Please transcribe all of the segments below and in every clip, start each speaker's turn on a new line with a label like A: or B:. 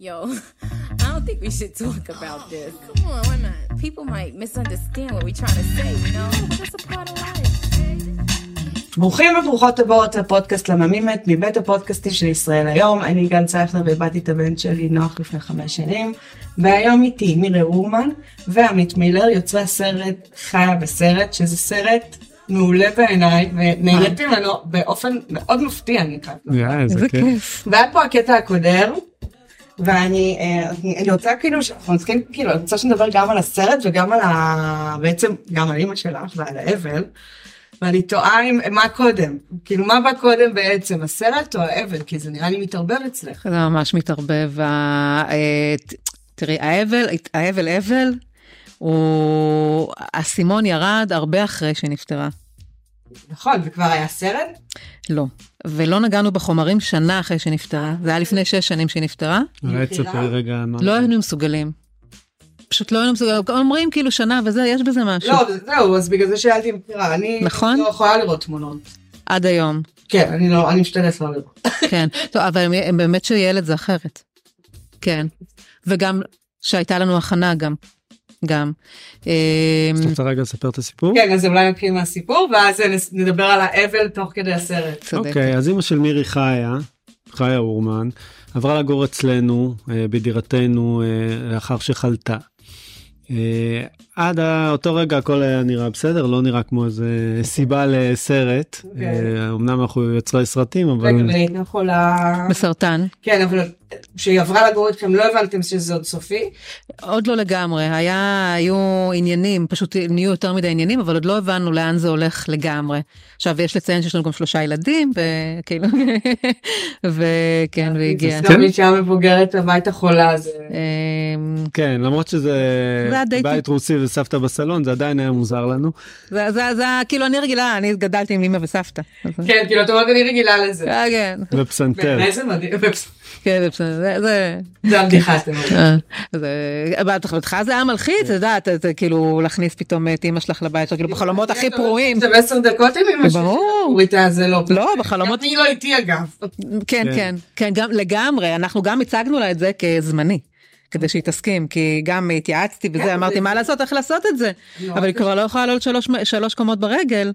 A: Yo, I don't think we should talk about this.
B: Oh, Come on, why not?
A: People might misunderstand what we're trying to say, you know? That's a part of life.
C: ברוכים וברוכות הבאות לפודקאסט לממימת מבית הפודקאסטים של ישראל היום. אני גל צייכלר ואיבדתי את הבן שלי נוח לפני חמש שנים, והיום איתי מירי רומן ועמית מילר, יוצרי הסרט חיה בסרט, שזה סרט מעולה בעיניי, ונהניתי ממנו באופן מאוד מפתיע, אני חייבת לומר.
D: יאה, איזה כיף.
C: והיה פה הקטע הקודר, ואני אה, אני רוצה כאילו, שאנחנו נסכים, כאילו, אני רוצה שנדבר גם על הסרט וגם על ה... בעצם גם על אימא שלך ועל האבל, ואני תוהה אם מה קודם, כאילו מה בא קודם בעצם, הסרט או האבל, כי זה נראה לי מתערבב אצלך.
E: זה ממש מתערבב. ה- אה, ת- תראי, האבל, האבל אבל, הוא... האסימון ירד הרבה אחרי שנפטרה.
C: נכון, וכבר היה סרט?
E: לא. ולא נגענו בחומרים שנה אחרי שנפטרה. זה היה לפני שש שנים שהיא נפטרה.
D: אולי תספרי רגע מה...
E: לא היינו מסוגלים. פשוט לא היינו מסוגלים. אומרים כאילו שנה וזה, יש בזה משהו.
C: לא, זהו, אז בגלל זה שאלתי אם תראה, אני
E: נכון.
C: לא יכולה לראות תמונות.
E: עד היום.
C: כן, אני לא, אני משתדלת לא לראות.
E: כן. טוב, אבל הם- הם באמת שילד זה אחרת. כן. וגם שהייתה לנו הכנה גם. גם. אה,
D: את רוצה רגע לספר את הסיפור?
C: כן, אז אולי נתחיל מהסיפור, ואז נס- נדבר על האבל תוך כדי הסרט.
E: צודקת.
D: אוקיי, אז אימא של מירי חיה, חיה אורמן, עברה לגור אצלנו, אה, בדירתנו, אה, לאחר שחלתה. אה, עד ה- אותו רגע הכל היה נראה בסדר, לא נראה כמו איזה סיבה לסרט.
C: אוקיי.
D: אה, אמנם אנחנו יוצרי סרטים, אבל...
C: רגע, והיא לא יכולה...
E: בסרטן.
C: כן, אבל כשהיא עברה לגור איתכם לא הבנתם שזה עוד סופי.
E: עוד לא לגמרי, היה, היו עניינים, פשוט נהיו יותר מדי עניינים, אבל עוד לא הבנו לאן זה הולך לגמרי. עכשיו, יש לציין שיש לנו גם שלושה ילדים, וכאילו, וכן, והגיע.
C: גם אישה מבוגרת הביתה חולה, אז...
E: אמ,
D: כן, למרות שזה
E: זה הדי
D: בית
E: טבעי.
D: רוסי וסבתא בסלון, זה עדיין היה מוזר לנו.
E: זה, זה, זה, כאילו, אני רגילה, אני גדלתי עם אמא וסבתא. אז-
C: כן, כאילו, את אומרת, אני רגילה לזה.
E: אה, כן,
D: ופסנתר.
C: בעיניי זה מדהים,
E: כן, זה בסדר, זה- זה...
C: זה הבדיחה שאתם אומרים.
E: אה, זה- בטח, לך זה היה מלחיץ, את יודעת, זה כאילו להכניס פתאום את אמא שלך לבית, כאילו בחלומות
C: כן,
E: הכי פרועים.
C: עכשיו עשר דקות עם אמא שלי.
E: ברור.
C: ריטה זה לא.
E: לא, בחלומות
C: גם היא לא איתי אגב.
E: כן,
D: כן.
E: כן, כן, גם לגמרי, אנחנו גם הצגנו לה את זה כזמני, כדי שהיא תסכים, כי גם התייעצתי
C: כן,
E: וזה, אמרתי,
C: זה-
E: מה לעשות, איך לעשות את זה?
C: נורא
E: אבל היא
C: קשה.
E: כבר לא כן. יכולה לעלות שלוש- שלוש קומות ברגל,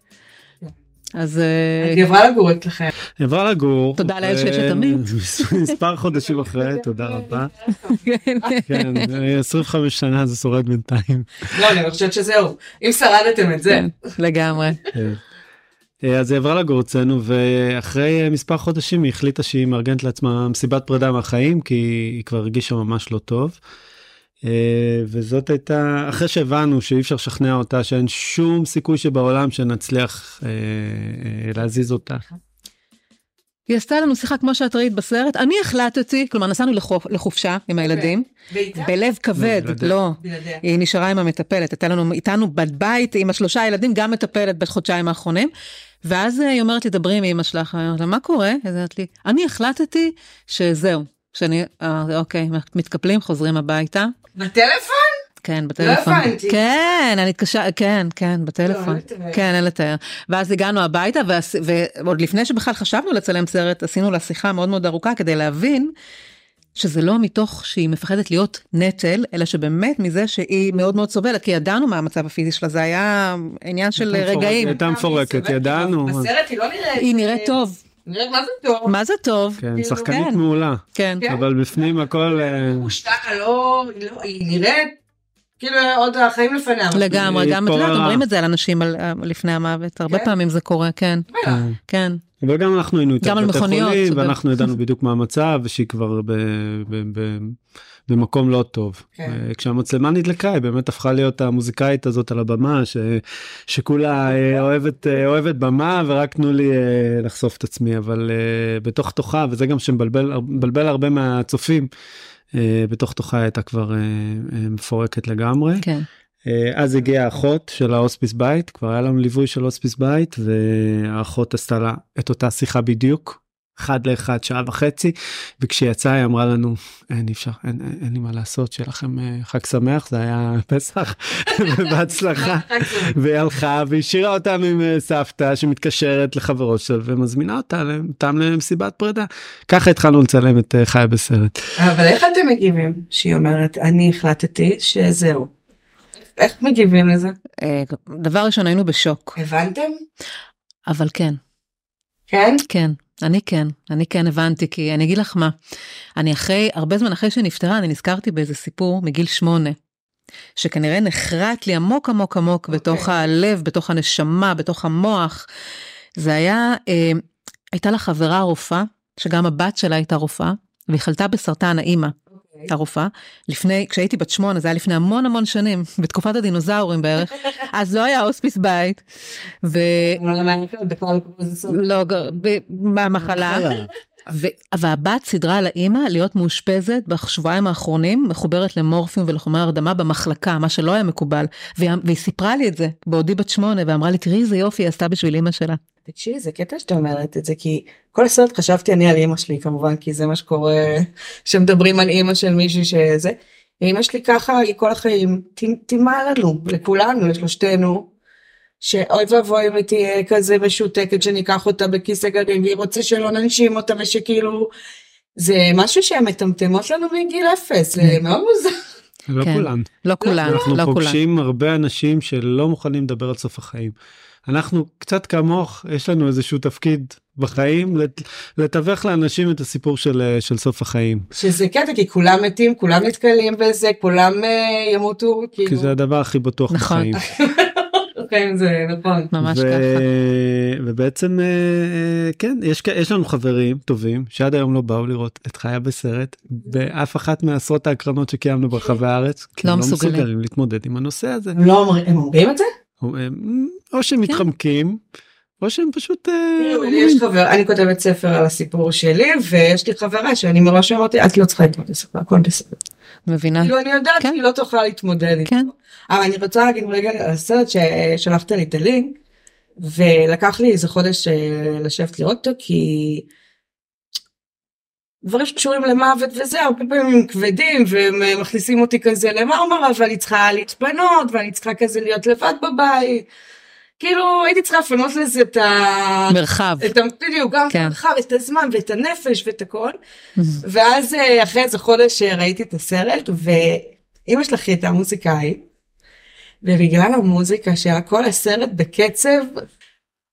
E: אז אה,
C: היא עברה לגור אצלכם.
D: היא עברה לגור.
E: תודה לאל
D: ו-
E: שיש את עמית.
D: מספר חודשים אחרי, תודה רבה.
E: כן,
D: כן, 25 שנה זה שורד בינתיים.
C: לא, אני חושבת שזהו. אם שרדתם את זה.
E: כן, לגמרי.
D: כן. אה, אז היא עברה לגור אצלנו, ואחרי אה, מספר חודשים היא החליטה שהיא מארגנת לעצמה מסיבת פרידה מהחיים, כי היא כבר הרגישה ממש לא טוב. אה, וזאת הייתה, אחרי שהבנו שאי אפשר לשכנע אותה, שאין שום סיכוי שבעולם שנצליח אה, אה, להזיז אותה.
E: היא עשתה לנו שיחה כמו שאת ראית בסרט, אני החלטתי, כלומר נסענו לחופ- לחופשה עם הילדים,
C: בעיטה?
E: בלב כבד,
D: בלעדיה.
E: לא.
C: בלעדיה.
E: היא נשארה עם המטפלת, הייתה לנו איתנו בבית עם השלושה ילדים, גם מטפלת בחודשיים האחרונים. ואז אה, היא אומרת לי, דברי עם אמא שלך, אני אומרת לה, מה קורה? אז היא אומרת לי, אני החלטתי שזהו, שאני, אה, אוקיי, מתקפלים, חוזרים הביתה.
C: בטלפון?
E: כן, בטלפון.
C: לא הבנתי.
E: כן, אני התקשר, כן, כן,
C: לא,
E: בטלפון.
C: אין לתאר.
E: כן, אין לתאר. ואז הגענו הביתה, ועש- ועוד לפני שבכלל חשבנו לצלם סרט, עשינו לה שיחה מאוד מאוד ארוכה כדי להבין שזה לא מתוך שהיא מפחדת להיות נטל, אלא שבאמת מזה שהיא מאוד מאוד סובלת, כי ידענו מה המצב הפיזי שלה, זה היה עניין של
D: הייתה מפורקת,
E: רגעים.
D: הייתה מפורקת, ידענו.
C: אה, בסרט היא לא נראית...
E: היא נראית טוב.
C: נראית מה זה טוב.
E: מה זה טוב?
D: כן,
C: כאילו,
D: שחקנית
E: כן.
D: מעולה,
E: כן.
C: אה, כן.
D: אבל בפנים הכל... אה,
C: הושתקה, לא, היא לא- היא נראית כאילו עוד החיים לפניה.
E: לגמרי,
D: היא
E: גם, את יודעת,
D: התפוררה.
E: אומרים את זה על אנשים על- אה, לפני המוות, הרבה
C: כן?
E: פעמים זה קורה, כן,
D: אה,
E: כן.
D: אבל גם אנחנו היינו איתה
E: גם על
D: בבתי
E: מכוניות,
D: חולים,
E: צודק.
D: ואנחנו ידענו בדיוק מה המצב, ושהיא כבר ב, ב, ב, במקום לא טוב.
C: כן.
D: אה, כשהמצלמה נדלקה, היא באמת הפכה להיות המוזיקאית הזאת על הבמה, ש, שכולה אה, אוהבת, אה, אוהבת במה, ורק תנו לי אה, לחשוף את עצמי, אבל אה, בתוך תוכה, וזה גם שמבלבל מבלבל הרבה מהצופים, אה, בתוך תוכה הייתה כבר אה, אה, מפורקת לגמרי.
E: כן.
D: אה, אז הגיעה האחות של ההוספיס בית, כבר היה לנו ליווי של הוספיס בית, והאחות עשתה לה את אותה שיחה בדיוק, אחד לאחד, שעה וחצי, וכשיצאה היא אמרה לנו, אין אי אפשר, אין, אין, אין לי מה לעשות, שיהיה לכם אה, חג שמח, זה היה פסח, ובהצלחה. והיא הלכה והשאירה אותם עם אה, סבתא שמתקשרת לחברות שלה ומזמינה אותה ל- אותם למסיבת פרידה. ככה התחלנו לצלם את אה, חיה בסרט.
C: אבל איך אתם מגיבים שהיא אומרת, אני החלטתי שזהו. איך מגיבים לזה?
E: אה, דבר ראשון, היינו בשוק,
C: הבנתם?
E: אבל כן,
C: כן?
E: כן, אני כן, אני כן הבנתי, כי אני אגיד לך מה, אני אחרי, הרבה זמן אחרי שנפטרה, אני נזכרתי באיזה סיפור מגיל שמונה, שכנראה נחרט לי עמוק עמוק עמוק בתוך הלב, בתוך הנשמה, בתוך המוח. זה היה, אה, הייתה לה חברה רופאה, שגם הבת שלה הייתה רופאה, והיא חלתה בסרטן האימא. הייתה רופאה, לפני, כשהייתי בת שמונה, זה היה לפני המון המון שנים, בתקופת הדינוזאורים בערך, אז לא היה הוספיס בית, ו...
C: אבל המערכת בכל הקבוצה.
E: לא, ג- ב- מהמחלה. ו- אבל הבת סידרה לאימא להיות מאושפזת בשבועיים האחרונים, מחוברת למורפיום ולחומרי הרדמה במחלקה, מה שלא היה מקובל. והיא, והיא סיפרה לי את זה בעודי בת שמונה, ואמרה לי, תראי איזה יופי היא עשתה בשביל אימא שלה.
C: תקשיבי, זה קטע שאת אומרת את זה, כי כל הסרט חשבתי אני על אימא שלי כמובן, כי זה מה שקורה כשמדברים על אימא של מישהי שזה. אימא שלי ככה, היא כל החיים ט- טימה לנו, לכולנו, יש לשתינו, שאוי ואבוי אם היא תהיה כזה משותקת שניקח אותה בכיסא גלגלים, והיא רוצה שלא ננשים אותה ושכאילו... זה משהו שהן מטמטמות לנו מגיל אפס, זה
D: Mm.
C: מאוד מוזר.
D: לא
E: כן.
D: כולן.
E: לא כולן,
D: אנחנו
E: לא כולן.
D: פוגשים הרבה אנשים שלא מוכנים לדבר על סוף החיים. אנחנו קצת כמוך, יש לנו איזשהו תפקיד בחיים לת- לתווך לאנשים את הסיפור של, אה, של סוף החיים.
C: שזה קטע, כי כולם מתים, כולם נתקלים בזה, כולם אה, ימותו, כאילו.
D: כי זה הדבר הכי בטוח
E: נכון.
D: בחיים.
C: כן, זה נכון.
E: ממש ככה.
D: ובעצם אה, אה, כן יש כ- יש לנו חברים טובים שעד היום לא באו לראות את חיה בסרט באף אחת מעשרות ההקרנות שקיימנו ברחבי הארץ. כי
E: לא
D: הם
E: מסוגלים.
D: מסוגלים להתמודד עם הנושא הזה.
C: הם לא אומרים, הם אומרים את זה?
D: או הם- או
E: כן.
D: שהם מתחמקים או שהם פשוט אה,
C: תראו, לי
D: אומרים,
C: כאילו, יש חבר, אני כותבת ספר על הסיפור שלי, ויש לי חברה שאני מראש אמרתי, את לא צריכה להתמודד ספר, הכל בסדר.
E: מבינה?
C: כאילו, אני יודעת
E: כן.
C: שהיא לא תוכל להתמודד איתו.
E: כן.
C: אבל אני רוצה להגיד רגע על הסרט ששלחת לי את הלינק, ולקח לי איזה חודש אה, לשבת לראות אותו, כי דברים שקשורים למוות וזה, הרבה פעמים הם כבדים, והם אה, מכניסים אותי כזה למרמרה, ואני צריכה להתפנות, ואני צריכה כזה להיות לבד בבית. כאילו, הייתי צריכה לפנות לזה את ה...
E: מרחב.
C: את ה... בדיוק, גם את
E: כן.
C: המרחב, את הזמן ואת הנפש ואת הכל. ואז אה, אחרי איזה חודש אה, ראיתי את הסרט, ואימא שלך הייתה מוזיקאית, ובגלל המוזיקה שהיה כל הסרט בקצב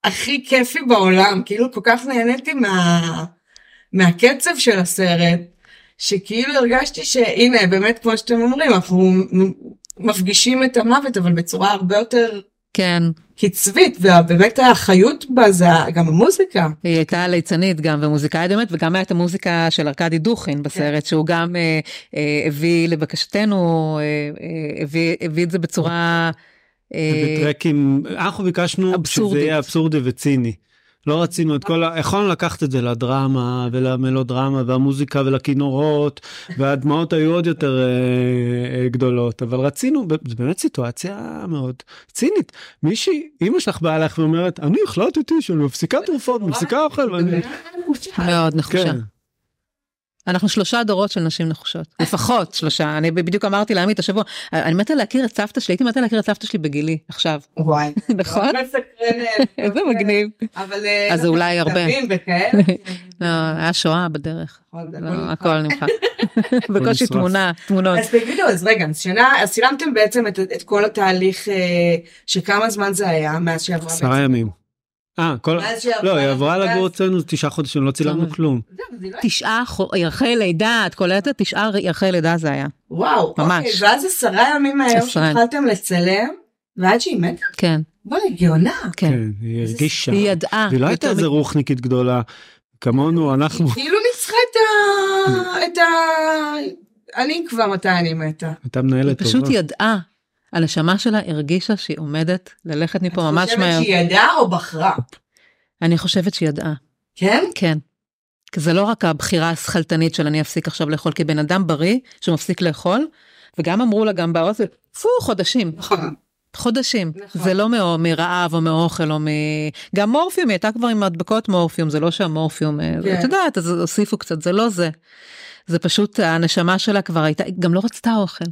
C: הכי כיפי בעולם, כאילו כל כך נהניתי מה... מהקצב של הסרט, שכאילו הרגשתי שהנה, באמת כמו שאתם אומרים, אנחנו מפגישים את המוות, אבל בצורה הרבה יותר
E: כן,
C: קצבית, ובאמת האחריות בה זה גם המוזיקה.
E: היא הייתה ליצנית גם ומוזיקאית באמת, וגם הייתה המוזיקה של ארכדי דוכין בסרט, שהוא גם אה, אה, הביא לבקשתנו, אה, אה, הביא, הביא את זה בצורה... אה,
D: בטרקים אנחנו ביקשנו שזה
E: אבסורדית.
D: יהיה אבסורדי וציני. לא רצינו את כל ה... יכולנו לקחת את זה לדרמה ולמלודרמה והמוזיקה ולכינורות והדמעות היו עוד יותר אה, אה, גדולות אבל רצינו ב- זה באמת סיטואציה מאוד צינית מישהי אמא שלך באה לך ואומרת אני החלטתי שאני מפסיקה תרופות מפסיקה אוכל ואני
E: מאוד נחושה.
D: כן.
E: כן. אנחנו שלושה דורות של נשים נחושות, לפחות שלושה. אני בדיוק אמרתי לעמית השבוע, אני מתה להכיר את סבתא שלי, הייתי מתה להכיר את סבתא שלי בגילי, עכשיו,
D: אוקיי.
C: וואי.
E: נכון?
C: מסקרנת.
E: איזה מגניב.
C: אבל...
E: אז זה אולי הרבה.
C: כתבים וכאלה.
E: לא, היה שואה בדרך,
C: נכון, זה
E: לא,
C: הכל
E: הכל נמחק. בקושי
D: נשרף.
E: תמונה, תמונות.
C: אז תגידו, אז רגע, אז שנה, אז צילמתם בעצם את, את כל התהליך, אה, שכמה זמן זה היה מאז שעברה
D: עשרה
C: בעצם?
D: ימים. אה כל
C: מאז שעברה
D: לא היא עברה
C: למרכז.
D: לגור אצלנו תשעה חודשים לא צילמנו
E: טוב.
D: כלום.
C: זהו, זה לא-
E: תשעה חו- ירחי לידה, את קולטת? תשעה ירחי לידה זה היה.
C: וואו,
E: ממש.
C: אוקיי, ואז עשרה ימים מהיום
E: עשרה.
C: שהתחלתם לצלם, ועד שהיא מתה,
E: כן,
C: בואי, גאונה.
E: כן.
D: כן, היא
C: איזה
D: הרגישה.
E: היא ידעה.
D: והיא לא הייתה
E: אה, יותר אה,
D: איזה רוחניקית גדולה, כמונו, אנחנו,
C: כאילו ניצחה את ה... את ה... אני כבר מתי אני מתה.
D: הייתה מנהלת
E: היא אה, פשוט
D: טובה.
E: ידעה. הנשמה שלה הרגישה שהיא עומדת ללכת מפה ממש
C: חושבת
E: מהר.
C: שהיא ידעה או בחרה?
E: אני חושבת שהיא ידעה,
C: כן?
E: כן. כי זה לא רק הבחירה השכלתנית של אני אפסיק עכשיו לאכול, כי בן אדם בריא שמפסיק לאכול, וגם אמרו לה גם באוזן, פו, חודשים.
C: נכון.
E: חודשים.
C: נכון.
E: זה לא מאו- מרעב או מאוכל או מ... גם מורפיום, היא הייתה כבר עם הדבקות מורפיום, זה לא שהמורפיום, אה,
C: כן.
E: את יודעת, אז הוסיפו קצת, זה לא זה. זה פשוט, הנשמה שלה כבר הייתה, היא גם לא רצתה אוכל.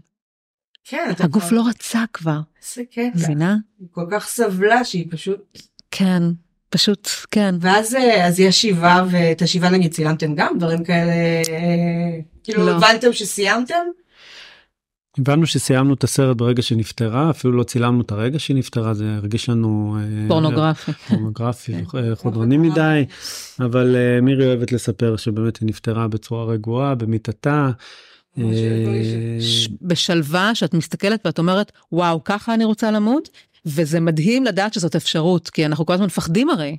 C: כן, אתה
E: הגוף
C: כבר-
E: לא רצה כבר,
C: איזה קטע.
E: מבינה?
C: היא כל כך סבלה שהיא פשוט...
E: כן, פשוט, כן.
C: ואז אה, אז יש שבעה, ואת השבעה נגיד צילמתם גם, דברים כאלה... אה, כאילו
E: לא.
C: הבנתם שסיימתם?
D: הבנו שסיימנו את הסרט ברגע שנפטרה, אפילו לא צילמנו את הרגע שנפטרה, זה הרגיש לנו... אה,
E: פורנוגרפי.
D: פורנוגרפי,
E: כן,
D: אה, חודרני מדי, אבל אה, מירי אוהבת לספר שבאמת היא נפטרה בצורה רגועה, במיטתה. אה,
C: ממש הרגיש.
E: ש- בשלווה שאת מסתכלת ואת אומרת, וואו, ככה אני רוצה למות? וזה מדהים לדעת שזאת אפשרות, כי אנחנו כל הזמן מפחדים הרי.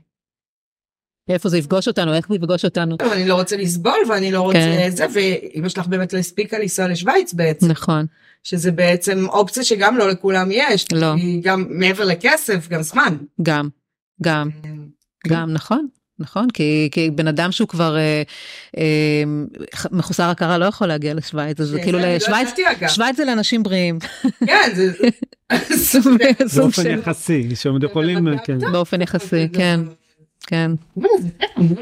E: איפה זה יפגוש אותנו, איך זה יפגוש אותנו.
C: טוב, אני לא רוצה לסבול ואני לא רוצה
E: כן.
C: זה, ואמא שלך באמת לא הספיקה לנסוע לשוויץ בעצם,
E: נכון,
C: שזה בעצם אופציה שגם לא לכולם יש.
E: לא.
C: היא גם מעבר לכסף, גם זמן.
E: גם, גם, גם, נכון. נכון, כי, כי בן אדם שהוא כבר אה, אה, ח- מחוסר הכרה לא יכול להגיע לשוויץ, אז זה
C: שזה
E: כאילו
C: אני לא
E: לשוויץ,
C: ידעתי, אגב.
E: שוויץ זה לאנשים בריאים,
C: כן, זה...
E: סוג
D: באופן
E: של,
D: יחסי, שהם יכולים, אה, כן.
E: באופן יחסי, כן,
C: נכון.
E: כן,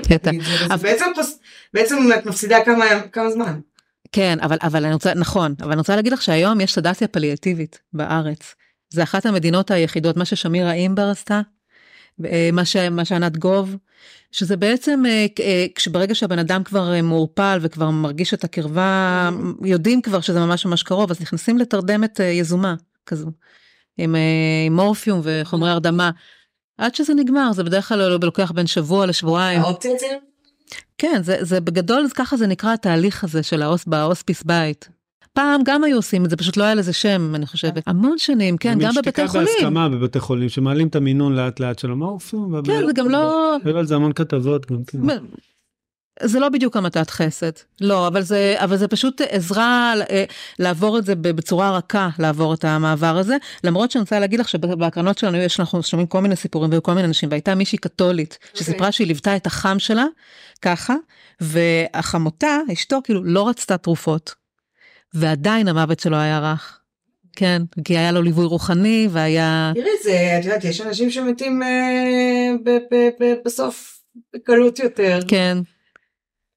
E: קטע.
C: אז בעצם פוס- בעצם את מפסידה כמה- כמה זמן.
E: כן, אבל, אבל אני רוצה, נכון, אבל אני רוצה להגיד לך שהיום יש סדציה פליאטיבית בארץ. זה אחת המדינות היחידות, מה ששמירה אימבר עשתה, אה, מה, ש, מה שענת גוב, שזה בעצם, אה, אה, כשברגע שהבן אדם כבר אה, מעורפל וכבר מרגיש את הקרבה, יודעים כבר שזה ממש ממש קרוב, אז נכנסים לתרדמת אה, יזומה כזו, עם, אה, עם מורפיום וחומרי הרדמה. עד שזה נגמר, זה בדרך כלל לוקח בין שבוע לשבועיים.
C: האופציה זה...
E: כן, זה, זה בגדול, זה ככה זה נקרא התהליך הזה של האוס, בהוספיס בית. פעם גם היו עושים את זה, פשוט לא היה לזה שם, אני חושבת. המון שנים, כן, גם בבתי
D: שתיקה
E: חולים.
D: בהסכמה בבתי חולים, שמעלים את המינון לאט לאט של המורפיום.
E: כן, זה גם לא...
D: היו על זה המון כתבות גם. כן.
E: זה לא בדיוק המתת חסד. לא, אבל זה, אבל זה פשוט עזרה אה, לעבור את זה בצורה רכה, לעבור את המעבר הזה. למרות שאני רוצה להגיד לך שבהקרנות שלנו יש, אנחנו שומעים כל מיני סיפורים וכל מיני אנשים, והייתה מישהי קתולית שסיפרה שהיא ליוותה את החם שלה ככה, והחמותה, אשתו, כאילו לא רצתה תרופות. ועדיין המוות שלו היה רך. כן, כי היה לו ליווי רוחני והיה...
C: תראי, זה, את יודעת, יש אנשים שמתים אה, ב- ב- ב- בסוף בקלות יותר.
E: כן,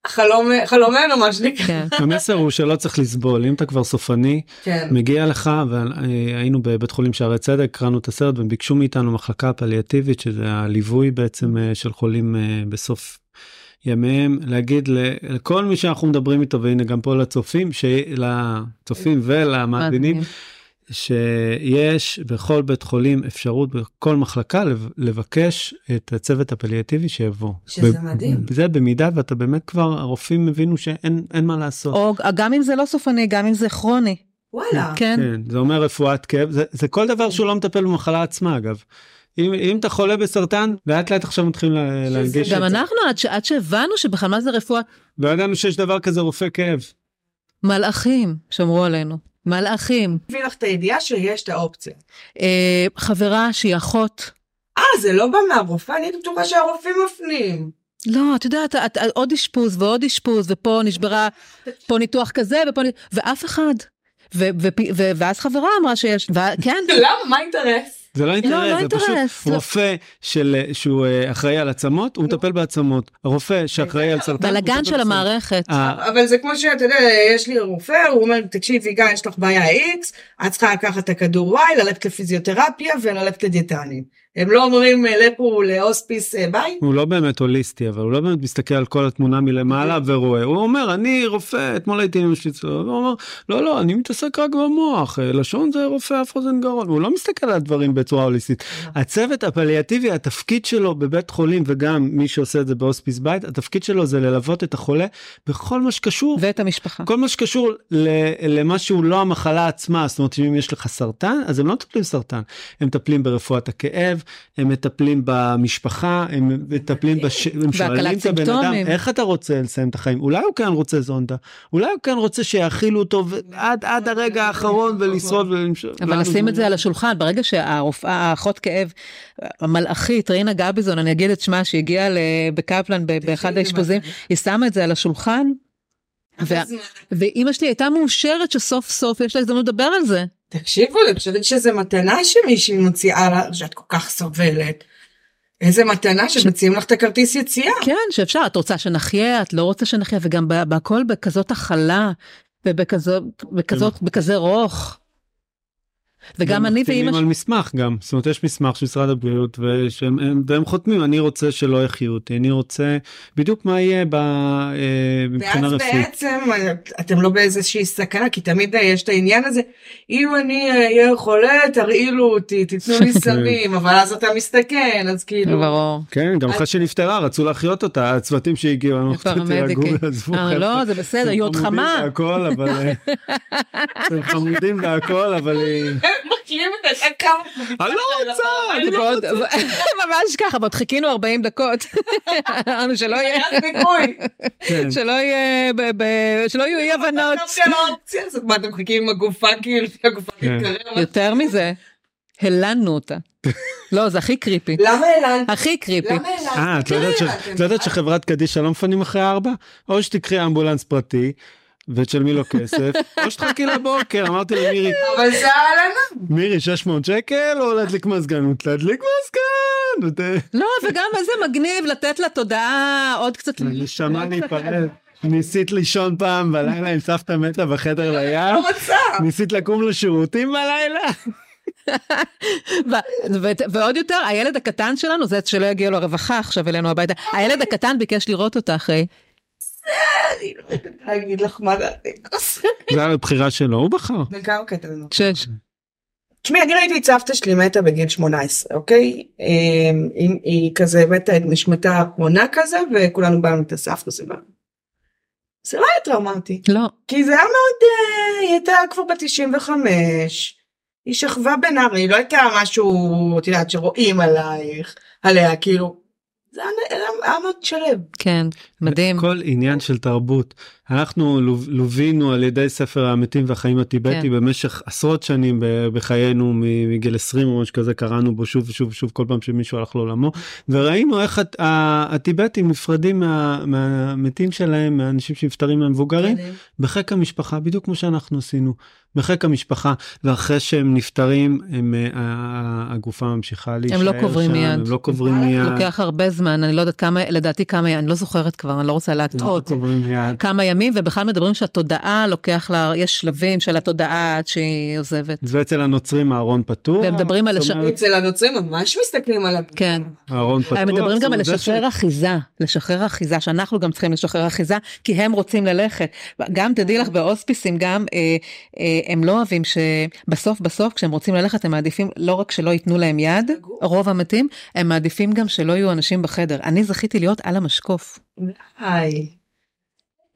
C: חלום- חלומנו, מה שנקרא.
E: כן,
D: המסר הוא שלא צריך לסבול, אם אתה כבר סופני,
C: כן.
D: מגיע לך, והיינו בבית חולים שערי צדק, קראנו את הסרט, והם ביקשו מאיתנו מחלקה הפליאטיבית, שזה הליווי בעצם אה, של חולים אה, בסוף ימיהם, להגיד ל- לכל מי שאנחנו מדברים איתו, והנה גם פה לצופים, ש- לצופים ולמאזינים,
E: מאזינים.
D: שיש בכל בית חולים אפשרות בכל מחלקה לב- לבקש את הצוות הפליאטיבי שיבוא.
C: שזה מדהים.
D: זה במידה ואתה באמת כבר, הרופאים הבינו שאין אין מה לעשות.
E: או גם אם זה לא סופני, גם אם זה כרוני,
C: וואלה.
E: כן.
D: כן, זה אומר רפואת כאב, זה, זה כל דבר שהוא לא מטפל במחלה עצמה אגב. אם, אם אתה חולה בסרטן, לאט לאט עכשיו מתחילים לה-
C: שזה
D: להנגיש את זה.
E: גם אנחנו, עד, ש... עד שהבנו שבכלל מה זה רפואה,
D: לא ידענו שיש דבר כזה רופא כאב.
E: מלאכים שמרו עלינו, מלאכים.
C: מביא לך את הידיעה שיש את האופציה.
E: אה, חברה שהיא אחות.
C: אה, זה לא בא מהרופאה? אני הייתי בטוחה שהרופאים מפנים.
E: לא, את יודעת, את, את, עוד אשפוז ועוד אשפוז, ופה נשברה, פה ניתוח כזה, ופה, ניתוח- ואף אחד. ו, ו, ו, ואז חברה אמרה שיש, ו, כן,
C: למה? מה האינטרס?
D: זה לא אינטרס,
E: לא
D: זה
E: אינטרס,
D: פשוט
E: לא.
D: רופא של, שהוא אה, אחראי על עצמות, הוא מטפל בעצמות. הרופא שאחראי על סרטן, הוא
E: בלאגן
D: מטפל
E: של
D: בסרטן.
E: המערכת.
D: אה,
C: אבל זה כמו שאתה יודע, יש לי רופא, הוא אומר, תקשיבי, גיא, יש לך בעיה X, את צריכה לקחת את הכדור Y, ללכת לפיזיותרפיה וללכת לדיאטנים. הם לא אומרים, אה, לכו להוספיס אה, ביי?
D: הוא לא באמת הוליסטי, אבל הוא לא באמת מסתכל על כל התמונה מלמעלה ורואה. הוא אומר, אני רופא, אתמול הייתי עם אשתי צלולה, והוא אומר, לא, לא, אני מתעסק רק במוח, אה, לשון זה רופא אף אוזן גרון. הוא לא מסתכל על הדברים בצורה הוליסטית. הצוות הפליאטיבי, התפקיד שלו בבית חולים, וגם מי שעושה את זה בהוספיס בית, התפקיד שלו זה ללוות את החולה בכל מה שקשור
E: ואת המשפחה.
D: כל מה שקשור ל- למה שהוא לא המחלה עצמה, זאת אומרת אם יש לך סרטן, אז הם לא מטפלים סרטן, הם מטפלים ברפואת הכאב, הם מטפלים במשפחה, הם מטפלים, בש... הם שואלים את הבן אדם,
E: סימפטומים.
D: איך אתה רוצה לסיים את החיים? אולי הוא כן רוצה זונדה, אולי הוא כן רוצה שיאכילו אותו ו... עד, עד הרגע האחרון ולשרוד ולמשוך.
E: אבל
D: לנו לא.
E: לשים את
D: זה-
E: זה על השולחן, ברגע שהרופאה, האחות כאב, המלאכית, רינה גביזון, אני אגיד את שמה, שהגיעה ל- בקפלן ב- באחד האשפוזים, היא שמה את זה על השולחן, וה- ואימא שלי הייתה מאושרת שסוף סוף יש לה הזדמנות לדבר על זה.
C: תקשיבו, אני חושבת שזה מתנה שמישהי מוציאה לך, שאת כל כך סובלת. איזה מתנה שמציעים לך את הכרטיס יציאה.
E: כן, שאפשר, את רוצה שנחיה, את לא רוצה שנחיה, וגם בה- בהכל בכזאת הכלה, ובכזאת, בכזאת, בכזה רוך. וגם אני ואימא
D: חותמים על
E: שלי,
D: מסמך גם, זאת אומרת יש מסמך של משרד הבריאות ושהם הם- והם חותמים, אני רוצה שלא יחיו אותי, אני רוצה בדיוק מה יהיה ב, אה, מבחינה
C: ואז
D: רפואית.
C: בעצם אתם לא באיזושהי סכנה, כי תמיד אה, יש את העניין הזה, אם אני אה, אהיה חולה, תרעילו אותי, תיתנו לי סמים, אבל אז אתה מסתכן, אז כאילו...
E: ברור.
D: כן, גם
C: אז-
D: אחרי שנפטרה רצו להחיות אותה, הצוותים שהגיעו, אני רוצה תירגעו,
E: הפרמדיקים.
D: עזבו.
E: אה,
D: חבר'ה.
E: לא, זה בסדר,
D: אתם
E: היא עוד
D: חמודים
E: חמה.
D: והכל, אבל... אה, אתם חמודים והכל, אבל... היא-
C: מכירים את השקר?
D: אני לא רוצה! אני לא
E: ועוד- ממש ככה, ועוד חיכינו 40 דקות. אמרנו שלא יהיה,
C: אז ביקוי.
D: כן.
E: שלא יהיה, ב- ב- שלא יהיו אי הבנות.
C: דווקא לא האופציה הזאת, מה אתם מחכים עם הגופה כאילו, הגופה
D: כן.
C: מתקרבת?
E: יותר מזה, הלנו אותה. לא, זה הכי קריפי.
C: למה אלעד?
E: הכי קריפי.
C: למה כן, אלעד?
D: אה,
E: כן.
D: את לא יודעת ש-
C: תראי,
D: את לא יודעת שחברת קדישא לא מפנים אחרי ארבע? או שתקחי אמבולנס פרטי ותשלמי לו כסף, או שתחכי לבוקר, אמרתי למירי,
C: אבל זה העלנה.
D: מירי 600 שקל או להדליק מזגן? תדליק מזגן! ות-
E: לא, וגם איזה מגניב לתת לה תודעה עוד קצת.
D: לא נשמה להיפרד. ניסית לישון פעם בלילה עם סבתא מתה בחדר לים?
C: לא רוצה.
D: ניסית לקום לשירותים בלילה?
E: ו- ו- ועוד יותר, הילד הקטן שלנו, זה שלא יגיע לו הרווחה עכשיו אלינו הביתה, הילד הקטן ביקש לראות אותה אחרי.
C: אני לא יודעת להגיד לך מה דעתי.
D: זה היה בחירה שלו, הוא בחר.
C: בן כמה קטן?
E: שש.
C: תשמעי, אני ראיתי את סבתא שלי מתה בגיל 18, אוקיי? אמ, אם היא כזה מתה את נשמתה האחרונה כזה, וכולנו באנו את הסבתא זה בא. זה לא היה טראומטי,
E: לא.
C: כי זה היה מאוד, אה, היא הייתה כבר בת 95, היא שכבה בנהרי, היא לא הייתה משהו, את יודעת, שרואים עלייך, עליה, כאילו, זה היה- היה- היה מאוד שלב.
E: כן. מדהים.
D: כל עניין של תרבות. אנחנו לוב- לווינו על ידי ספר העמיתים והחיים הטיבטי
E: כן.
D: במשך עשרות שנים ב- בחיינו, מ- מגיל 20 או משהו כזה, קראנו בו שוב ושוב ושוב כל פעם שמישהו הלך לעולמו, וראינו איך הט- ה- הטיבטים נפרדים מה- מהמתים שלהם, מהאנשים שנפטרים מהמבוגרים, בחיק המשפחה, בדיוק כמו שאנחנו עשינו, בחיק המשפחה, ואחרי שהם נפטרים, הם, אה, ה- הגופה ממשיכה להישאר
E: לא קוברים
D: שם,
E: מיד. אה,
D: הם לא קוברים מיד.
E: לוקח הרבה זמן, אני לא יודעת כמה, לדעתי כמה, אני לא זוכרת כבר, אני לא רוצה
D: לא
E: להטעות.
D: קוברים מיד.
E: כמה ימים, ובכלל מדברים שהתודעה לוקח לה, יש שלבים של התודעה עד שהיא עוזבת.
D: ואצל הנוצרים הארון פתוח.
E: והם מדברים על
D: זאת
E: הש-
D: אומרת,
C: אצל הנוצרים ממש מסתכלים עליו.
E: כן.
D: הארון פתוח.
E: הם מדברים
D: זאת
E: גם על
D: אומרת, זה
E: לשחרר אחיזה, לשחרר אחיזה, שאנחנו גם צריכים לשחרר אחיזה, כי הם רוצים ללכת. גם תדעי לך, בהוספיסים גם, אה, אה, הם לא אוהבים שבסוף בסוף, כשהם רוצים ללכת, הם מעדיפים לא רק שלא ייתנו להם יד, רוב המתים, הם מעדיפים גם שלא יהיו אנשים בחדר. אני זכיתי להיות על המשקוף.
C: היי.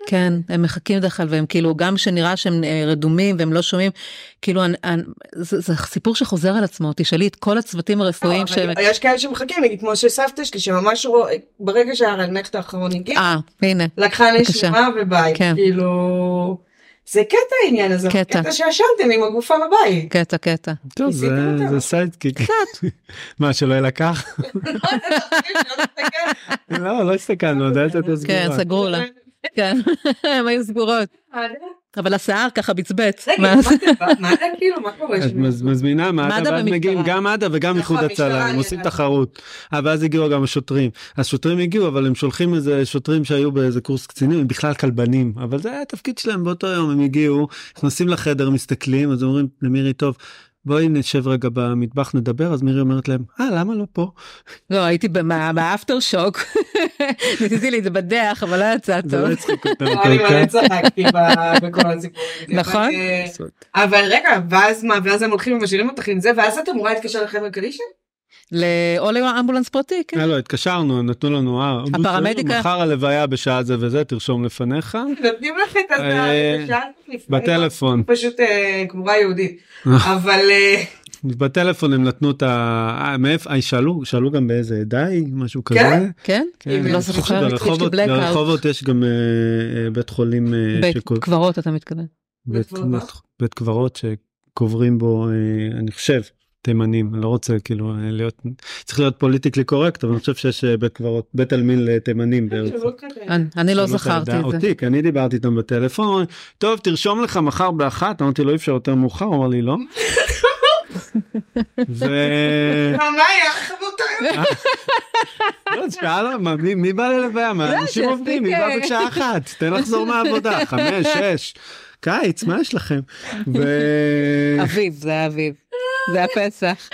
E: כן, הם מחכים בדרך כלל, והם כאילו, גם שנראה שהם אה, רדומים והם לא שומעים, כאילו, אני, אני, זה, זה סיפור שחוזר על עצמו, תשאלי את כל הצוותים הרפואיים
C: לא,
E: שהם...
C: אבל יש כאלה שמחכים, נגיד כמו שסבתא שלי, שממש רוא- ברגע שהרנכט האחרון הגיע,
E: אה, הנה.
C: לקחה
E: בבקשה.
C: נשימה ובית,
E: כן.
C: כאילו... זה קטע העניין הזה,
E: קטע.
C: קטע שישנתם עם הגופה בבית.
E: קטע, קטע.
D: טוב, זה-
C: ניסיתם אותה.
D: זה סיידקיק. מה, שלא יילקח?
C: כן,
D: לא, לא הסתכלנו, הדלת הייתה
E: כן,
D: סגורה.
E: סגרו לה.
C: אה,
E: כן, הם היו סגורות. אבל השיער ככה בצבץ.
C: רגע,
E: מה?
C: מה זה- מה זה כאילו, מה קורה
D: את
C: שם?
D: מז- מזמינה מד"א,
E: מד"א
D: ואז
E: ומשטרה.
D: מגיעים גם מד"א וגם
C: נכון,
D: איחוד
C: משטרה,
D: הצלה, הם עושים
C: ידעתי.
D: תחרות. אה, ואז הגיעו גם השוטרים. השוטרים הגיעו, אבל הם שולחים איזה שוטרים שהיו באיזה קורס קצינים, הם בכלל כלבנים, אבל זה היה התפקיד שלהם באותו יום, הם הגיעו, נכנסים לחדר, מסתכלים, אז אומרים למירי, טוב, בואי נשב רגע במטבח, נדבר, אז מירי אומרת להם, אה, למה לא פה?
E: לא, הייתי במה- באפטר שוק. ניסיתי להתבדח, אבל לא יצא
D: זה לא
E: טוב.
D: הצחיק אותם. כן?
C: לא,
D: כל
C: אני באמת
D: כך.
C: צחקתי ב- בכל הסיפורים.
E: נכון.
C: אבל, אה, אבל רגע, ואז מה, ואז הם הולכים ומשאירים אותך עם זה, ואז את אמורה להתקשר לחבר'ה קדישא? אה,
E: ל- או לאמבולנס פרטי, כן.
D: אה, לא, התקשרנו, הם נתנו לנו, אה,
E: הפרמדיק היה-
D: מחר הלוויה בשעה זה וזה, תרשום לפניך,
C: נותנים לך את
D: אה,
C: הזמן, שאלת לפני.
D: בטלפון.
C: פשוט אה, קבורה יהודית. אבל אה,
D: בטלפון הם נתנו את ה... אה, מאיפה, אה, שאלו, שאלו גם באיזה עדה היא, משהו כזה.
C: כן?
E: כן?
C: אם
E: לא
D: אני חושב
E: זוכרת, יש לי
D: שברחובות-
E: blackout.
D: ברחובות יש גם אה, אה, בית חולים, אה,
E: בית
D: שקו-
E: קברות, אתה מתכוון.
D: בית-
C: בית קברות?
D: בית קברות שקוברים בו, אה, אני חושב, תימנים, אני לא רוצה כאילו אה, להיות, צריך להיות פוליטיקלי קורקט, אבל אני חושב שיש אה, בית קברות, בית עלמין לתימנים בארץ.
E: אני- אני לא
D: שלא
E: זכרתי
D: תדע
E: את זה.
D: אותי, כי אני דיברתי איתם בטלפון, אמרו לי, טוב, תרשום לך מחר באחת, אמרתי לו, אי אפשר יותר מאוחר, הוא אמר לי, לא. ו...
C: אה,
D: לא, תשמע, לא, מה, מי- מי בא ללוויה? מה, אנשים
E: שיספיק,
D: עובדים, מי בא
E: אה,
D: בשעה אחת? תן לחזור מהעבודה, חמש, שש. קיץ, מה יש לכם? ו-
E: אביב, זה היה אביב. זה היה פסח.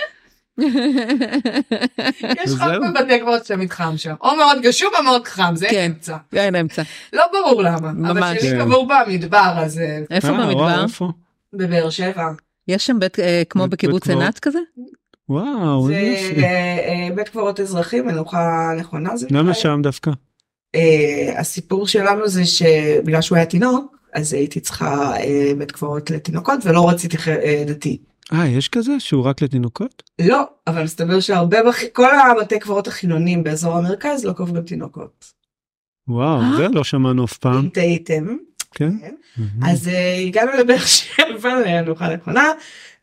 C: יש חוק
D: וזהו.
C: בבתי קברות שמתחם שם, או מאוד גשום או מאוד חם, זה
E: כן.
C: אמצע.
E: אין אמצע.
C: לא ברור למה, אבל
E: ממש.
C: שלי
D: כן.
C: קבור במדבר, אז אה,
E: איפה
D: אה, וואו,
E: במדבר?
D: איפה?
C: בבאר שבע.
E: יש שם בית אה, כמו
D: בית-
E: בקיבוץ
D: בית קברות.
E: עינת כזה?
D: וואו,
C: זה
D: איזה
C: אה, אה, בית קברות אזרחי, מנוחה נכונה. זה
D: למה
C: נקרא.
D: שם דווקא?
C: אה, הסיפור שלנו זה שבגלל שהוא היה תינוק, אז הייתי צריכה אה, בית קברות לתינוקות ולא רציתי ח- אה, דתי.
D: אה, יש כזה שהוא רק לתינוקות?
C: לא, אבל מסתבר שהרבה, בח- כל הבתי קברות החילונים באזור המרכז לא קוברים תינוקות.
D: וואו,
E: אה?
D: זה לא שמענו אף פעם,
C: אם תהיתם.
D: כן?
C: אז אה, הגענו לבאר שבע למנוחה נכונה,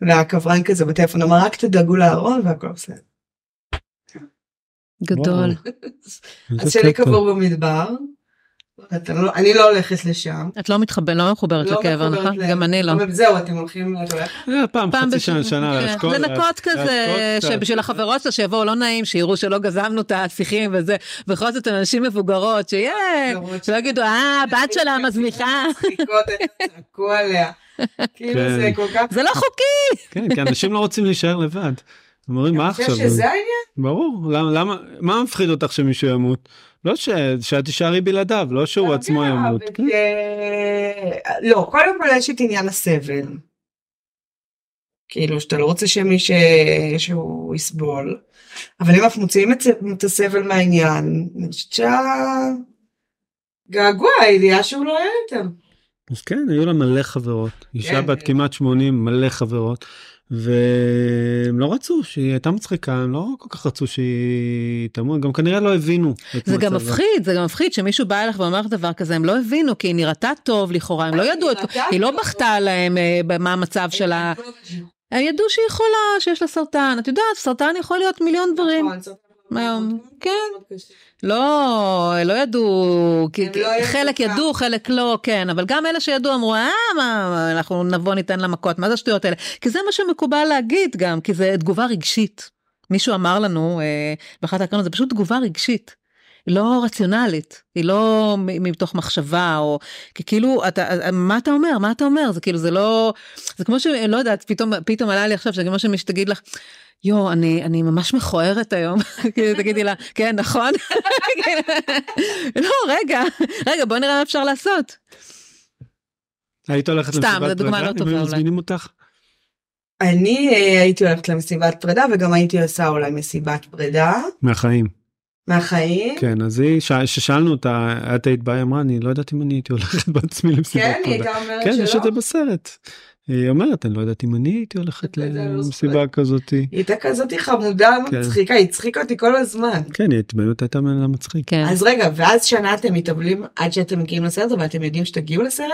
C: והקברן כזה בטלפון אמר רק תדאגו לארון והכל בסדר.
E: גדול.
D: וואו,
C: אז
D: איזה
C: שלי
D: קטע.
C: קבור במדבר, אתה לא- אני לא הולכת לשם.
E: את לא מתחברת, לא מחוברת
C: לא
E: לקבר,
C: מחוברת
E: נכון?
C: ל-
E: גם אני לא.
C: אבל זהו, אתם הולכים, את הולכת?
D: אה, פעם
E: פעם
D: חצי
E: בש-
D: שנה, שנה,
E: כן,
D: להשקות.
E: לנקות כזה,
D: קצת.
E: שבשביל החברות שלה שיבואו לא נעים, שיראו שלא גזמנו את השיחים וזה, בכל זאת הן נשים מבוגרות, שיהיה,
C: למרות
E: שלא יגידו, אה, הבת שלה מזניחה.
C: מצחיקות, איך צעקו עליה. כאילו
D: כן.
C: זה כל כך...
E: זה לא חוקי.
D: כן, כי אנשים לא רוצים להישאר לבד. הם אומרים, מה
C: אני חושב
D: עכשיו?
C: שזה העניין?
D: ברור, למה, למה, מה מפחיד אותך שמישהו ימות? לא ש... שאת תישארי בלעדיו, לא שהוא עצמו
C: אתה יודע,
D: ימות. כן.
C: וכ- לא, קודם כל יש את עניין הסבל. כאילו שאתה לא רוצה שמי ש... שהוא יסבול. אבל אם אנחנו מוציאים את, זה- את הסבל מהעניין, אני חושבת שהגעגוע, הידיעה שהוא לא יהיה יותר.
D: אז כן, היו לה מלא חברות. אישה
C: כן.
D: בת כמעט 80, מלא חברות. והם לא רצו, שהיא הייתה מצחיקה, הם לא כל כך רצו שהיא תמות, גם כנראה לא הבינו את
E: זה גם
D: מצבה.
E: מפחיד, זה גם מפחיד שמישהו בא אליך ואומר דבר כזה, הם לא הבינו, כי היא נראתה טוב לכאורה, הם לא ידעו, את-
C: נראתה
E: היא לא
C: טוב.
E: בכתה להם אה, מה המצב שלה. הם ידעו שהיא חולה, שיש לה סרטן, את יודעת, סרטן יכול להיות מיליון דברים.
C: נכון, זאת-
E: היום, כן.
C: מאוד קשה.
E: לא, לא ידעו, כי-
C: הם לא ידעו
E: חלק
C: גם.
E: ידעו, חלק לא, כן, אבל גם אלה שידעו אמרו, אה, מה, אנחנו נבוא ניתן לה מכות, מה זה השטויות האלה? כי זה מה שמקובל להגיד גם, כי זה תגובה רגשית. מישהו אמר לנו אה, באחת ההקרנות, זה פשוט תגובה רגשית. היא לא רציונלית, היא לא מ- מתוך מחשבה, או כי כאילו, אתה, מה אתה אומר? מה אתה אומר? זה כאילו, זה לא, זה כמו ש... לא יודעת, פתאום, פתאום עלה לי עכשיו, שזה כמו שמישהו תגיד לך, יואו, אני, אני ממש מכוערת היום. כאילו, תגידי לה, כן, נכון? לא, רגע, רגע, בוא נראה מה אפשר לעשות.
D: היית הולכת
E: סתם, זו דוגמה לא
D: אם
E: טובה
D: היו
E: אולי.
D: מזמינים אותך?
C: אני אה, הייתי הולכת למסיבת פרידה וגם הייתי עושה אולי מסיבת פרידה
D: מהחיים.
C: מהחיים.
D: כן, אז היא, ש- ששאלנו אותה, את היית באה, היא אמרה, אני לא יודעת אם אני הייתי הולכת בעצמי למסיבת
C: כן, היא
D: פרידה.
C: הייתה אומרת
D: כן, יש את זה
C: שלא.
D: בסרט. היא אומרת, אני לא יודעת אם אני הייתי הולכת
C: אתה יודע, לא
D: למסיבה
C: זוכרת.
D: כזאת.
C: היא הייתה כזאת חמודה,
D: כן.
C: מצחיקה, היא הצחיקה אותי כל הזמן.
D: כן, היא באמת הייתה מנה מצחיק.
E: כן.
C: אז רגע, ואז שנה אתם מתאבלים עד שאתם מגיעים לסרט, אבל אתם יודעים שתגיעו לסרט?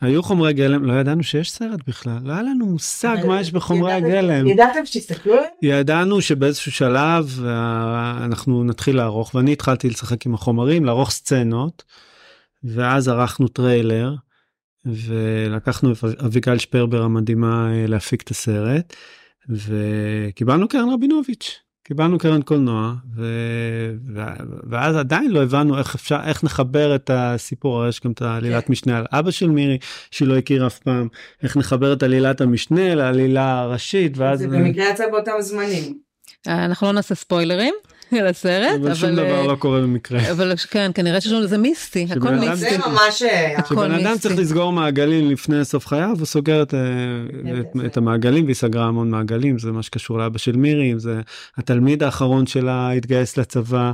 D: היו חומרי גלם, לא ידענו שיש סרט בכלל, לא היה לנו מושג
C: אבל
D: מה יש בחומרי
C: ידעתם-
D: הגלם.
C: ידעתם שתסתכלו עליהם?
D: ידענו שבאיזשהו שלב אה, אנחנו נתחיל לערוך, ואני התחלתי לשחק עם החומרים, לערוך סצנות, ואז ערכנו טריילר, ולקחנו את אביגל שפרבר המדהימה אה, להפיק את הסרט, וקיבלנו קרן רבינוביץ', קיבלנו קרן קולנוע, ו... ו- ואז עדיין לא הבנו איך אפשר, איך נחבר את הסיפור, הרי יש גם את העלילת משנה על אבא של מירי, שהיא לא הכירה אף פעם, איך נחבר את עלילת המשנה לעלילה הראשית, ואז...
C: זה במקרה יצא באותם זמנים.
E: אנחנו לא נעשה ספוילרים לסרט,
D: אבל שום
E: כן, אבל...
D: דבר לא קורה לא במקרה.
E: אה, אבל כן, כנראה שיש לנו זה מיסטי,
D: שבן
E: הכל
D: אדם-
E: מיסטי.
C: זה
D: מיסטי.
C: ממש אה, היה.
E: הכל
D: כשבן אדם
E: מיסטי.
D: צריך לסגור מעגלים לפני סוף חייו, הוא סוגר את, אה, את, את המעגלים, והיא סגרה המון מעגלים, זה מה שקשור לאבא של מירי, זה התלמיד האחרון שלה התגייס לצבא,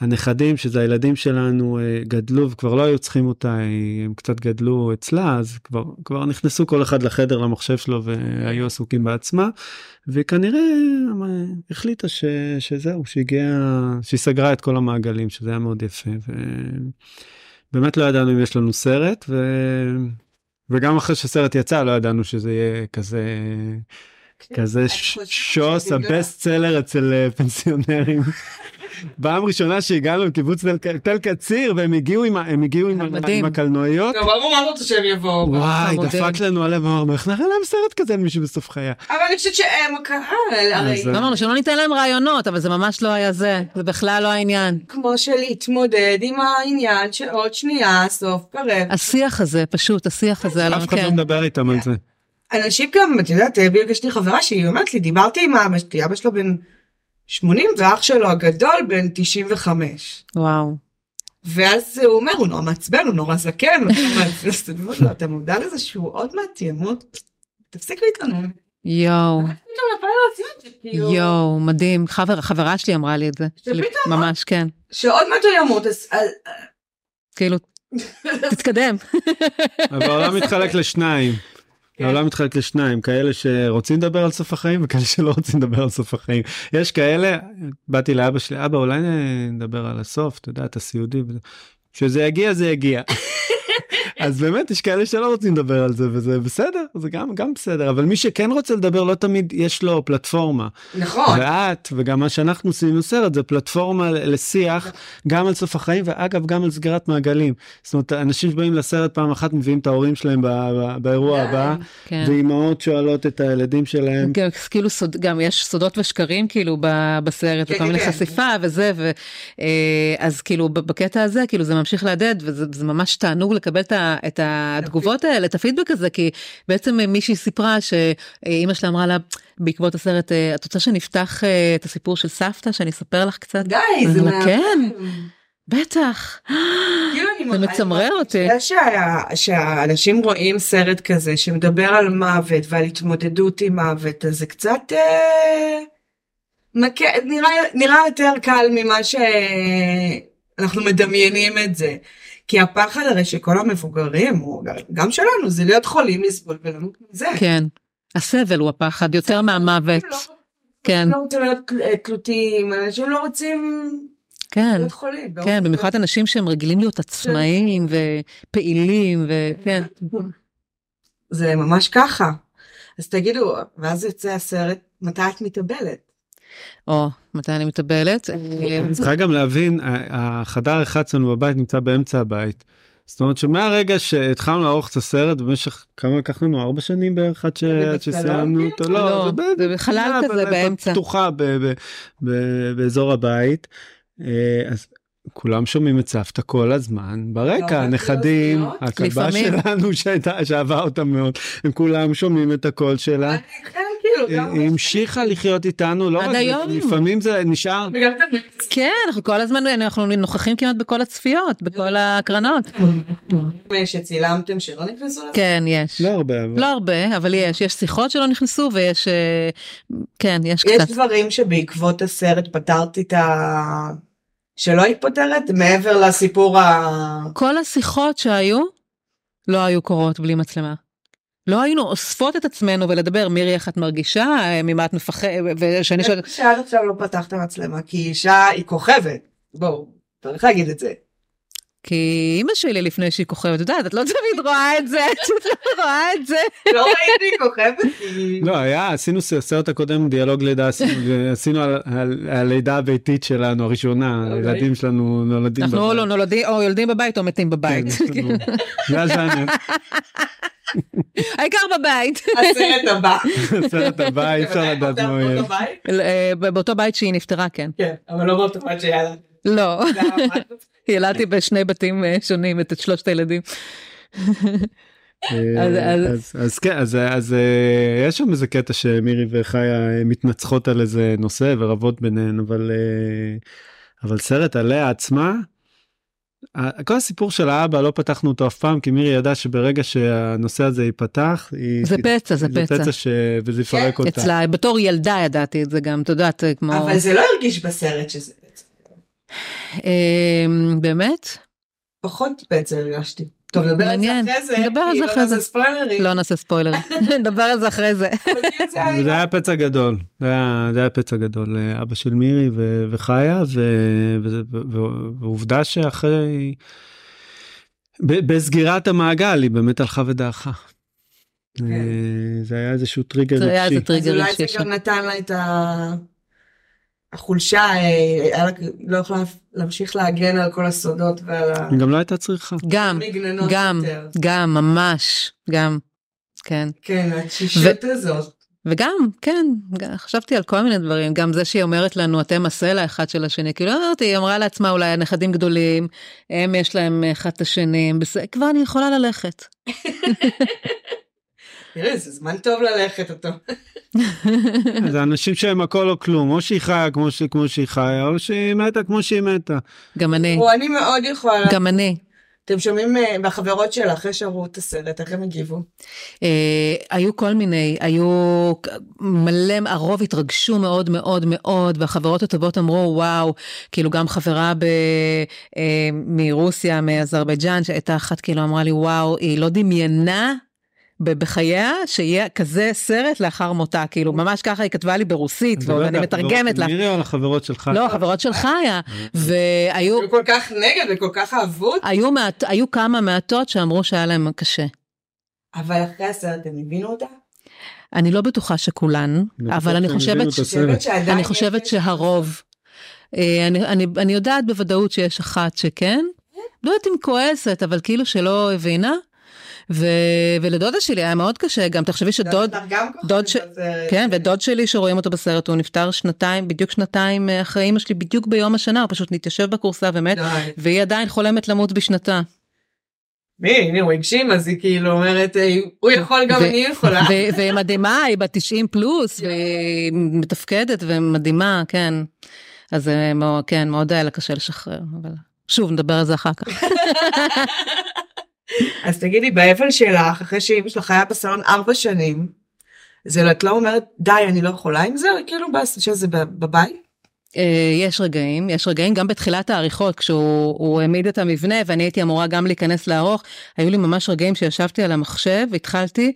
D: הנכדים, שזה הילדים שלנו, אה, גדלו וכבר לא היו צריכים אותה, אה, הם קצת גדלו אצלה, אז כבר, כבר נכנסו כל אחד לחדר למחשב שלו והיו עסוקים בעצמה, וכנראה אה, החליטה ש, שזהו, שהגיעה, שהיא סגרה את כל המעגלים, שזה היה מאוד יפה. ו... באמת לא ידענו אם יש לנו סרט, ו... וגם אחרי שהסרט יצא לא ידענו שזה יהיה כזה כזה ש- שוס הבסט סלר אצל אה, פנסיונרים. פעם ראשונה שהגענו לקיבוץ תל ק- תל קציר והם הגיעו עם ה- הם הגיעו עם ה-
E: מדהים.
D: עם הקלנועיות.
C: טוב, אמרו מה רוצה שהם יבואו.
D: וואי,
E: המודל.
D: דפק לנו עליהם, אמרנו, איך נראה להם סרט כזה על מישהו בסוף חייה?
C: אבל אני חושבת שהם הקהל, הרי
D: אז-
E: לא אמרנו שלא ניתן להם רעיונות, אבל זה ממש לא היה זה, זה בכלל לא העניין.
C: כמו שלהתמודד עם העניין שעוד שנייה הסוף קרב.
E: השיח הזה, פשוט, השיח הזה על כן.
D: אף אחד לא
E: המקל.
D: מדבר איתם על זה.
C: אנשים גם, את יודעת, בדיוק יש לי חברה שהיא אומרת לי, דיברתי עם אבא שלי, אבא שלו בן 80 ואח שלו הגדול בן 95.
E: וואו.
C: ואז הוא אומר, הוא נורא מעצבן, הוא נורא זקן, הוא נורא מעצבן." אז אני אומרת לו, אתה מודע לזה שהוא עוד מעט ימות? תפסיק להתלונן.
E: יואו,
C: פתאום נפל לו הציון
E: כאילו.
C: שכאילו,
E: יואו, מדהים. חבר, חברה שלי אמרה לי את זה.
C: שפתאום-
E: ממש, כן.
C: שעוד מעט הוא ימות, אז אז-
E: כאילו, תתקדם.
D: אבל העולם מתחלק לשניים. העולם מתחלק לשניים, כאלה שרוצים לדבר על סוף החיים וכאלה שלא רוצים לדבר על סוף החיים. יש כאלה, באתי לאבא שלי, אבא אולי נדבר על הסוף, אתה יודע, אתה סיעודי. וזה." כשזה יגיע זה יגיע. אז באמת יש כאלה שלא רוצים לדבר על זה וזה בסדר, זה גם, גם בסדר, אבל מי שכן רוצה לדבר לא תמיד יש לו פלטפורמה.
C: נכון.
D: ואת וגם מה שאנחנו עושים עם הסרט זה פלטפורמה לשיח גם על סוף החיים ואגב גם על סגירת מעגלים. זאת אומרת אנשים שבאים לסרט פעם אחת מביאים את ההורים שלהם ב- ב- באירוע הבא
E: כן.
D: ואימהות שואלות את הילדים שלהם.
C: כן.
E: גם- כאילו סוד, גם יש סודות ושקרים כאילו ב- בסרט
C: כן,
E: וכל מיני
C: כן.
E: חשיפה וזה ו- אה, אז כאילו ב- בקטע הזה כאילו זה ממשיך להדהד וזה זה ממש תענוג לקבל את ה- את התגובות האלה את הפידבק הזה כי בעצם אה, מישהי סיפרה שאימא שלה אמרה לה בעקבות הסרט אה, את רוצה שנפתח אה, את הסיפור של סבתא שאני אספר לך קצת.
C: די,
E: אז
C: זה
E: אני אומרת,
C: מה...
E: כן בטח
C: כאילו אני
E: זה
C: מראה-
E: מצמרר אותי.
C: זה שה- שהאנשים רואים סרט כזה שמדבר על מוות ועל התמודדות עם מוות, אז זה קצת אה, מכה, נראה, נראה יותר קל ממה שאנחנו מדמיינים את זה. כי הפחד הרי שכל המבוגרים, הוא גם- גם שלנו, זה להיות חולים לסבול ולמות מזה.
E: כן הסבל הוא הפחד יותר מהמוות
C: אנשים לא-
E: כן
C: לא רוצים להיות תל- תלותיים, אנשים לא רוצים
E: כן.
C: להיות חולים.
E: כן, במיוחד אנשים שהם רגילים להיות עצמאיים ופעילים כן. וכן.
C: זה ממש ככה. אז תגידו, ואז יוצא הסרט, מתי את מתאבלת?
E: או, מתי אני מתאבלת? אה,
D: צריכה גם להבין ה- החדר הרחץ שלנו בבית נמצא באמצע הבית. זאת אומרת שמהרגע שהתחלנו לערוך את הסרט במשך כמה לקח לנו ארבע שנים בערך עד ש-
C: זה
D: עד
C: בסלון?
D: שסיימנו אותו
E: לא,
D: לא ב-
E: זה בחלל
D: פינה,
E: כזה
D: ב- ב-
E: באמצע.
D: פתוחה ב- ב- ב- באזור הבית. אה, אז כולם שומעים את סבתא כל הזמן ברקע
C: לא,
D: הנכדים
C: לא,
D: הכלבה
E: לפעמים.
D: שלנו שהייתה שאהבה אותה מאוד הם כולם שומעים את הקול שלה.
C: אני כן, כאילו,
D: היא
C: גם-
D: היא המשיכה לחיות איתנו לא
E: עד
D: רק זה,
E: היום.
D: לפעמים זה נשאר
C: וגם את המקצוע.
E: כן, אנחנו כל הזמן, אנחנו נוכחים כמעט בכל הצפיות, בכל הקרנות.
C: אה, שצילמתם שלא נכנסו לזה?
E: כן, יש.
D: לא הרבה אבל.
E: לא הרבה, אבל יש. יש שיחות שלא נכנסו ויש, אה, כן, יש
C: יש
E: קצת.
C: דברים שבעקבות הסרט פתרתי את ה... שלא היית פותרת? מעבר לסיפור ה...
E: כל השיחות שהיו, לא היו קורות בלי מצלמה. לא היינו אוספות את עצמנו ולדבר, מירי, איך את מרגישה, אה, ממה את מפחדת, ושאני שואלת,
C: שעד עכשיו לא פתחת מצלמה, כי אישה היא כוכבת. בואו, צריך להגיד את זה.
E: כי אימא שלי לפני שהיא כוכבת, את יודעת, את לא תמיד רואה את זה, את לא רואה את זה.
C: לא ראיתי כוכבת, כי...
D: לא היה עשינו ס- סרט הקודם דיאלוג לידה עשינו- עשינו על- על הלידה הביתית שלנו הראשונה
C: אוקיי.
D: הילדים שלנו נולדים.
E: אנחנו או
D: בבית.
E: לא נולדים, או יולדים בבית או מתים בבית.
D: כן, יש לנו- זה הז'אנר.
E: העיקר בבית.
C: הסרט הבא.
D: סרט הבא אי אפשר לדעת מה יהיה.
C: אותו בית?
E: אה, באותו בית שהיא נפטרה, כן.
C: כן, אבל לא באותו בית שהיה לנו.
E: לא,
C: זה היה ממש-
E: ילדתי בשני בתים אה, שונים את שלושת הילדים. אז- אז-
D: אז- אז כן אז אז אה, יש שם איזה קטע שמירי וחיה אה, מתנצחות על איזה נושא ורבות ביניהן אבל אה, אבל סרט עליה עצמה. ה- כל הסיפור של האבא לא פתחנו אותו אף פעם כי מירי ידעה שברגע שהנושא הזה ייפתח היא
E: זה פצע, זה פצע.
D: ש... וזה יפרק
C: כן,
D: אותה.
E: אצלה, בתור ילדה ידעתי את זה גם, את יודעת, אה, כמו...
C: אבל זה לא הרגיש בסרט שזה בעצם.
E: אה, באמת?
C: פחות בעצם הרגשתי. טוב, נדבר על זה
E: מעניין.
C: אחרי זה.
E: נדבר על זה
C: כי
E: אחרי
C: לא
E: זה.
C: נעשה ספוילרים.
E: לא נעשה ספוילר, נדבר על זה אחרי זה.
C: אבל זה
D: זה
C: היה-
D: היה פצע גדול, זה היה, זה היה פצע גדול, אה, אבא של מירי ו, וחיה, ו, ו, ו, ועובדה שאחרי, ב, בסגירת המעגל היא באמת הלכה ודעכה. אה, זה היה איזשהו טריגר
E: זה היה איזה
D: רגשי.
C: אז
E: טריגר
C: אולי
E: רגשי
C: זה
E: ישר.
C: גם נתן לה את ה... החולשה, אה, היה לה- לא יכולה להמשיך להגן על כל הסודות ועל ה...
D: היא גם לא הייתה צריכה.
E: גם,
C: מגננות
E: גם,
C: יותר.
E: גם, ממש, גם, כן.
C: כן, התשישות הזאת.
E: וגם, כן, גם- חשבתי על כל מיני דברים, גם זה שהיא אומרת לנו, אתם הסלע אחד של השני, כאילו אמרתי, היא אמרה לעצמה, אולי הנכדים גדולים, הם יש להם אחד את השני, בסדר, כבר אני יכולה ללכת.
C: תראה, זה זמן טוב ללכת אותו.
E: כן.
D: זה אנשים שהם הכל או כלום, או שהיא חיה כמו, ש... כמו שהיא חיה, או שהיא מתה כמו שהיא מתה.
E: גם אני,
C: או, אני מאוד יכולה.
E: גם אני.
C: אתם שומעים אה, מהחברות שלה אחרי שראו את הסרט, איך הם הגיבו?
E: אה, היו כל מיני, היו כ- מלא, הרוב התרגשו מאוד מאוד מאוד, והחברות הטובות אמרו, וואו, כאילו גם חברה ב, אה, מרוסיה, מאזרבייג'אן, שהייתה אחת כאילו אמרה לי, וואו, היא לא דמיינה. ב- בחייה שיהיה כזה סרט לאחר מותה כאילו ממש ככה היא כתבה לי ברוסית
D: אני לא מדבר
E: ועוד
D: על
E: לא, אני
D: החברות
E: מתרגמת
D: של
E: לה.
D: מירי או על החברות שלך?
E: לא החברות שלך היה
D: אה.
E: והיו
C: הם כל כך נגד וכל כך אהבו אותה.
E: היו, מעט, היו כמה מעטות שאמרו שהיה להם קשה.
C: אבל אחרי הסרט הם הבינו אותה?
E: אני לא בטוחה שכולן
D: אני לא
E: אבל אני
D: בטוח שהם הבינו
E: חושבת
D: את
E: ש...
D: הסרט.
C: באמת שעדיין
E: אני
C: יש-
E: חושבת שהרוב. אה, אני, אני, אני יודעת בוודאות שיש אחת שכן, לא יודעת אם כועסת, אבל כאילו שלא הבינה. ו, ולדודה שלי היה מאוד קשה, גם תחשבי שדוד,
C: דוד, גם כוכבת
E: דוד ש-
C: בסרט.
E: כן, ודוד שלי שרואים אותו בסרט, הוא נפטר שנתיים, בדיוק שנתיים אה, אחרי אמא שלי, בדיוק ביום השנה, הוא פשוט התיישב בכורסה ומת,
C: די.
E: והיא עדיין חולמת למות בשנתה.
C: מי, הנה הוא הגשים, אז היא כאילו אומרת, אה, הוא יכול גם
E: ו-
C: אני יכולה.
E: ו- והיא מדהימה, היא בת 90 פלוס, והיא מתפקדת ומדהימה, כן. אז זה מאוד- כן, מאוד היה לה קשה לשחרר, אבל שוב, נדבר על זה אחר כך.
C: אז תגידי, באבל שלך, אחרי שאימא שלך היה בסלון ארבע שנים, זה את לא אומרת, די, אני לא יכולה עם זה, כאילו, בס- שזה בב- בבית?
E: אה, יש רגעים, יש רגעים, גם בתחילת העריכות, כשהוא הוא העמיד את המבנה ואני הייתי אמורה גם להיכנס לערוך, היו לי ממש רגעים שישבתי על המחשב, התחלתי,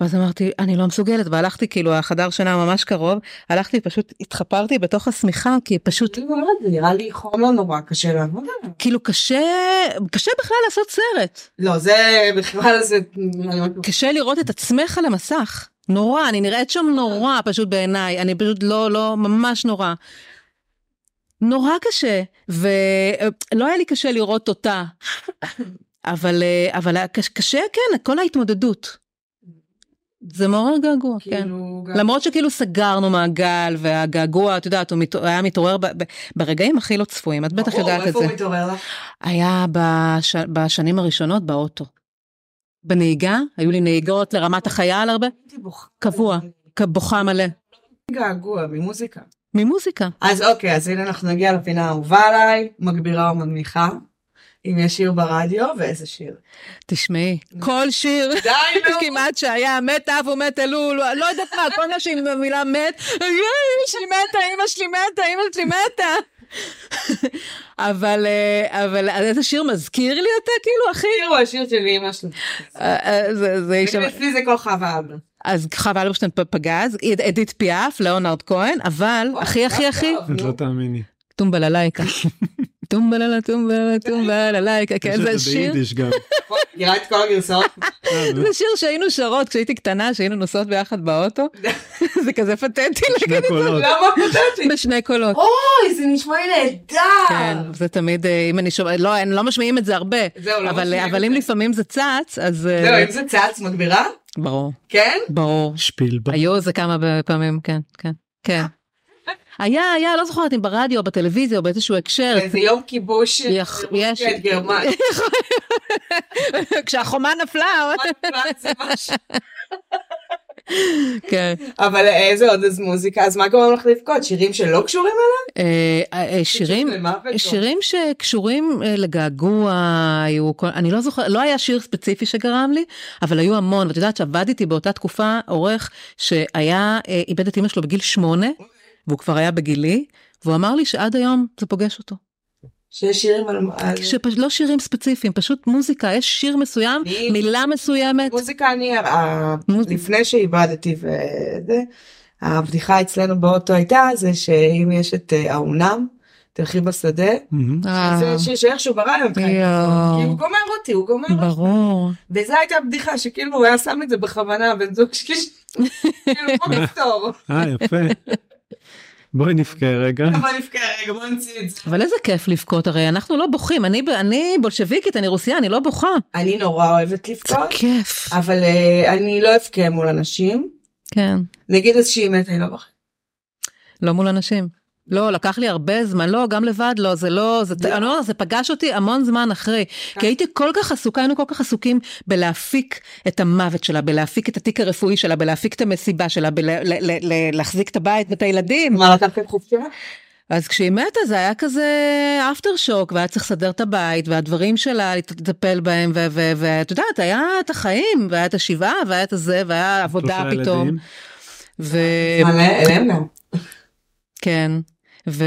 E: ואז אמרתי, אני לא מסוגלת, והלכתי, כאילו, החדר שינה ממש קרוב, הלכתי, פשוט התחפרתי בתוך השמיכה, כי פשוט
C: אני אומרת, זה נראה לי חומר נורא קשה לעבוד עליו.
E: כאילו קשה, קשה בכלל לעשות סרט.
C: לא, זה בכלל זה... אני אומרת,
E: קשה לראות את עצמך על המסך. נורא, אני נראית שם נורא פשוט בעיניי, אני פשוט לא, לא, ממש נורא. נורא קשה, ולא היה לי קשה לראות אותה, אבל, אה, אבל היה קש- קשה, כן, כל ההתמודדות. זה מעורר געגוע, כן.
C: כאילו... גם-
E: למרות שכאילו סגרנו מעגל, והגעגוע, את יודעת, הוא מת- היה מתעורר ב- ב- ברגעים הכי לא צפויים, את בטח
C: ברור,
E: יודעת את
C: איפה
E: זה.
C: הוא מתעורר לך?
E: היה בש... בשנים הראשונות באוטו. בנהיגה, היו לי נהיגות לרמת החייל הרבה,
C: הייתי בוכה.
E: קבוע. כ- בוכה מלא.
C: געגוע ממוזיקה.
E: ממוזיקה.
C: אז אוקיי, אז הנה אנחנו נגיע לפינה האהובה עליי, מגבירה ומנמיכה. אם יש שיר ברדיו, ואיזה שיר.
E: תשמעי, כל שיר
C: די, נו!
E: כמעט שהיה, מת אב ומת אלול, לא יודעת מה, כל מה שהיא במילה מת, "אה, אמא שלי מתה, אמא שלי מתה, אמא שלי מתה. אבל, אה, אבל איזה שיר מזכיר לי אותה, כאילו, אחי?
C: תראו, השיר של אמא שלי.
E: אה, אה, זה- זה איש...
C: אצלי זה כל חווה אבא.
E: אז חווה אלברשטיין פ- פגז, אדית פיאף, ליאונרד כהן, אבל הכי הכי הכי,
C: נכון,
D: את לא תאמיני.
E: טומבלה לייקה. טומבלה טומבלה טומבלה לייקה, כן,
D: יש את
E: זה שיר,
D: ביידיש גם.
C: נראה את כל הגרסאות.
E: זה שיר שהיינו שרות כשהייתי קטנה, שהיינו נוסעות ביחד באוטו. זה כזה פתטי
D: שני
E: להגיד
D: קולות.
C: למה פתאום?
E: בשני קולות.
C: אוי, זה נשמע לי
E: כן,
C: נהדר!
E: זה תמיד, אה, אם אני שומעת, לא, הם לא משמיעים את זה הרבה,
C: זהו, לא
E: אבל-
C: משמיעים את
E: אבל אם
C: זה.
E: לפעמים זה צץ, אז... אה,
C: זהו, לא, אם זה צץ מגבירה?
E: ברור,
C: כן?
E: ברור.
D: שפילבה.
E: היו איזה כמה פעמים, כן, כן, כן. היה, היה, לא זוכרת אם ברדיו או בטלוויזיה או באיזשהו הקשר,
C: איזה יום כיבוש.
E: יח- יש.
C: את גרמניה. כן.
E: כשהחומה נפלה,
C: זה משהו.
E: כן.
C: אבל איזה עוד אז מוזיקה? אז מה גורם לך לבכות? שירים שלא קשורים אליה?
E: אה, אה, שירים,
C: זה מוות, לא.
E: שירים שקשורים אה, לגעגוע, היו, כל- אני לא זוכרת, לא היה שיר ספציפי שגרם לי, אבל היו המון, ואת יודעת שעבדתי באותה תקופה עורך שהיה, אה, איבד את אמא שלו בגיל שמונה, והוא כבר היה בגילי, והוא אמר לי שעד היום זה פוגש אותו.
C: שיש שירים על... על-
E: שפ- לא שירים ספציפיים, פשוט מוזיקה, יש שיר מסוים,
C: אני-
E: מילה מסוימת.
C: מוזיקה אני, ה-
E: מוז-
C: לפני שאיבדתי וזה, הבדיחה אצלנו באוטו הייתה זה שאם יש את אה, האומנם, תלכי בשדה.
D: מהמם.
E: אה,
C: זה ש- שאיכשהו ברא להם חיים.
E: יואו.
C: כי הוא גומר אותי, הוא גומר אותי.
E: ברור.
C: וזו הייתה בדיחה שכאילו הוא היה שם את זה בכוונה, בן זוג שלי, כאילו בוא נפתור.
D: אה, יפה. בואי נבכה רגע.
C: אבל נבכה רגע, בוא נמציא את זה.
E: אבל איזה כיף לבכות, הרי אנחנו לא בוכים. אני, ב- אני בולשביקית, אני רוסייה, אני לא בוכה.
C: אני נורא אוהבת
E: זה
C: לבכות,
E: כיף.
C: אבל אה, אני לא אבכה מול אנשים.
E: כן.
C: נגיד איזושהי מתה, אני לא בכה.
E: לא מול אנשים. לא, לקח לי הרבה זמן, לא, גם לבד לא, זה לא, זה, אני לא, זה פגש אותי המון זמן אחרי. כי הייתי כל כך עסוקה, היינו כל כך עסוקים בלהפיק את המוות שלה, בלהפיק את התיק הרפואי שלה, בלהפיק את המסיבה שלה, בלהחזיק את הבית ואת הילדים.
C: מה, לקחתם
E: אה,
C: חופשה?
E: אז כשהיא מתה זה היה כזה אפטר שוק, והיה צריך לסדר את הבית, והדברים שלה, לטפל בהם, ו- ו- ואת יודעת, היה את החיים, והיה את השבעה, והיה את הזה, והיה עבודה
D: שלושה
E: פתאום.
D: ילדים.
E: ו...
C: אה, מלא, אליהם לא. גם.
E: כן. ו...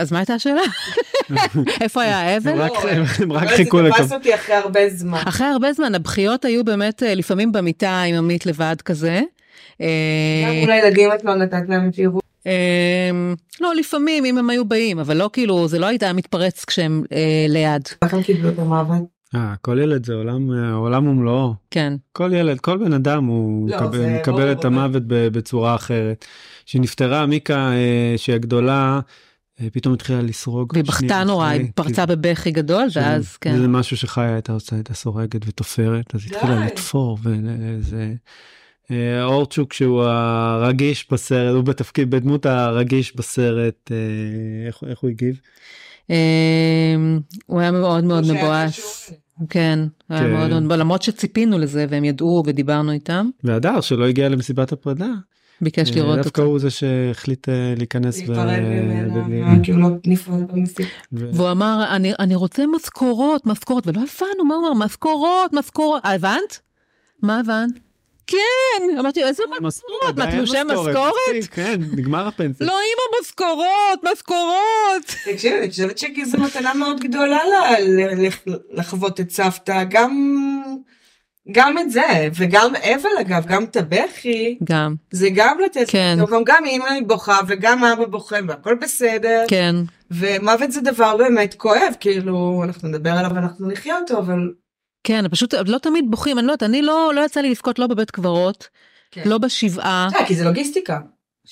E: אז מה הייתה השאלה? איפה היה האבל?
D: הם רק- הם- הם רק
C: אבל
D: חיכו
C: זה תפס
D: לקו.
C: אותי אחרי הרבה זמן.
E: אחרי הרבה זמן, הבכיות היו באמת אה, לפעמים במיטה עם עמית לבד כזה. אה,
C: גם מול הילדים את לא נתת להם את יראו.
E: אה, לא, לפעמים, אם הם היו באים, אבל לא כאילו, זה לא הייתה מתפרץ כשהם אה, ליד.
C: לכם קיבלו את המעבד.
D: אה, כל ילד זה עולם אה, עולם ומלואו.
E: כן.
D: כל ילד, כל בן אדם הוא
C: לא,
D: מקבל,
C: זה
D: מקבל
C: ברור,
D: את
C: אבל-
D: המוות ב- בצורה אחרת. כשנפטרה מיקה אה, שהיא הגדולה, אה, פתאום התחילה לסרוג.
E: והיא בכתה
D: שנייה
E: נורא,
D: אחרי,
E: היא פרצה
D: כי-
E: בבכי גדול,
D: כן,
E: ואז כן.
D: זה משהו שחיה הייתה עושה, הייתה סורגת ותופרת, אז היא התחילה
C: די.
D: לתפור וזה... אה, אורצ'וק שהוא הרגיש בסרט, הוא בתפקיד, בדמות הרגיש בסרט, אה, איך, איך הוא הגיב?
E: אמ, הוא היה מאוד מאוד מבואס. כן, הוא היה
D: כן.
E: מאוד מאוד, למרות שציפינו לזה והם ידעו ודיברנו איתם,
D: והדר שלא הגיע למסיבת הפרידה,
E: ביקש
D: אה,
E: לראות
D: דווקא
E: אותו.
D: הוא זה שהחליט אה, להיכנס ו-
C: להיפרד
D: ו-
C: ממנה, כאילו לא נפרד במסיבה.
D: ו-
E: והוא אמר, אני, אני רוצה משכורות, משכורות, ולא הבנו מה הוא אמר, משכורות, משכורות. אה, הבנת? מה הבנת? כן! אמרתי, איזה משכורות? מה,
D: די, אין
E: תלושי משכורת?
D: מספיק, כן, נגמר הפנסיה.
E: לא, אמא, משכורות, משכורות!
C: תקשיבי, אני חושבת שזו מתנה מאוד גדולה ל- ל- ל- לחוות את סבתא, גם... גם את זה, וגם אבל אגב, גם את הבכי,
E: גם,
C: זה גם לתת,
E: כן.
C: גם, גם אימא בוכה וגם אבא בוכה והכל בסדר,
E: כן,
C: ומוות זה דבר באמת כואב, כאילו, אנחנו נדבר עליו ואנחנו נחיה אותו, אבל...
E: כן, פשוט לא תמיד בוכים, אני לא יודעת, אני לא, לא יצא לי לבכות לא בבית קברות,
C: כן.
E: לא בשבעה.
C: אתה יודע, כי זה לוגיסטיקה,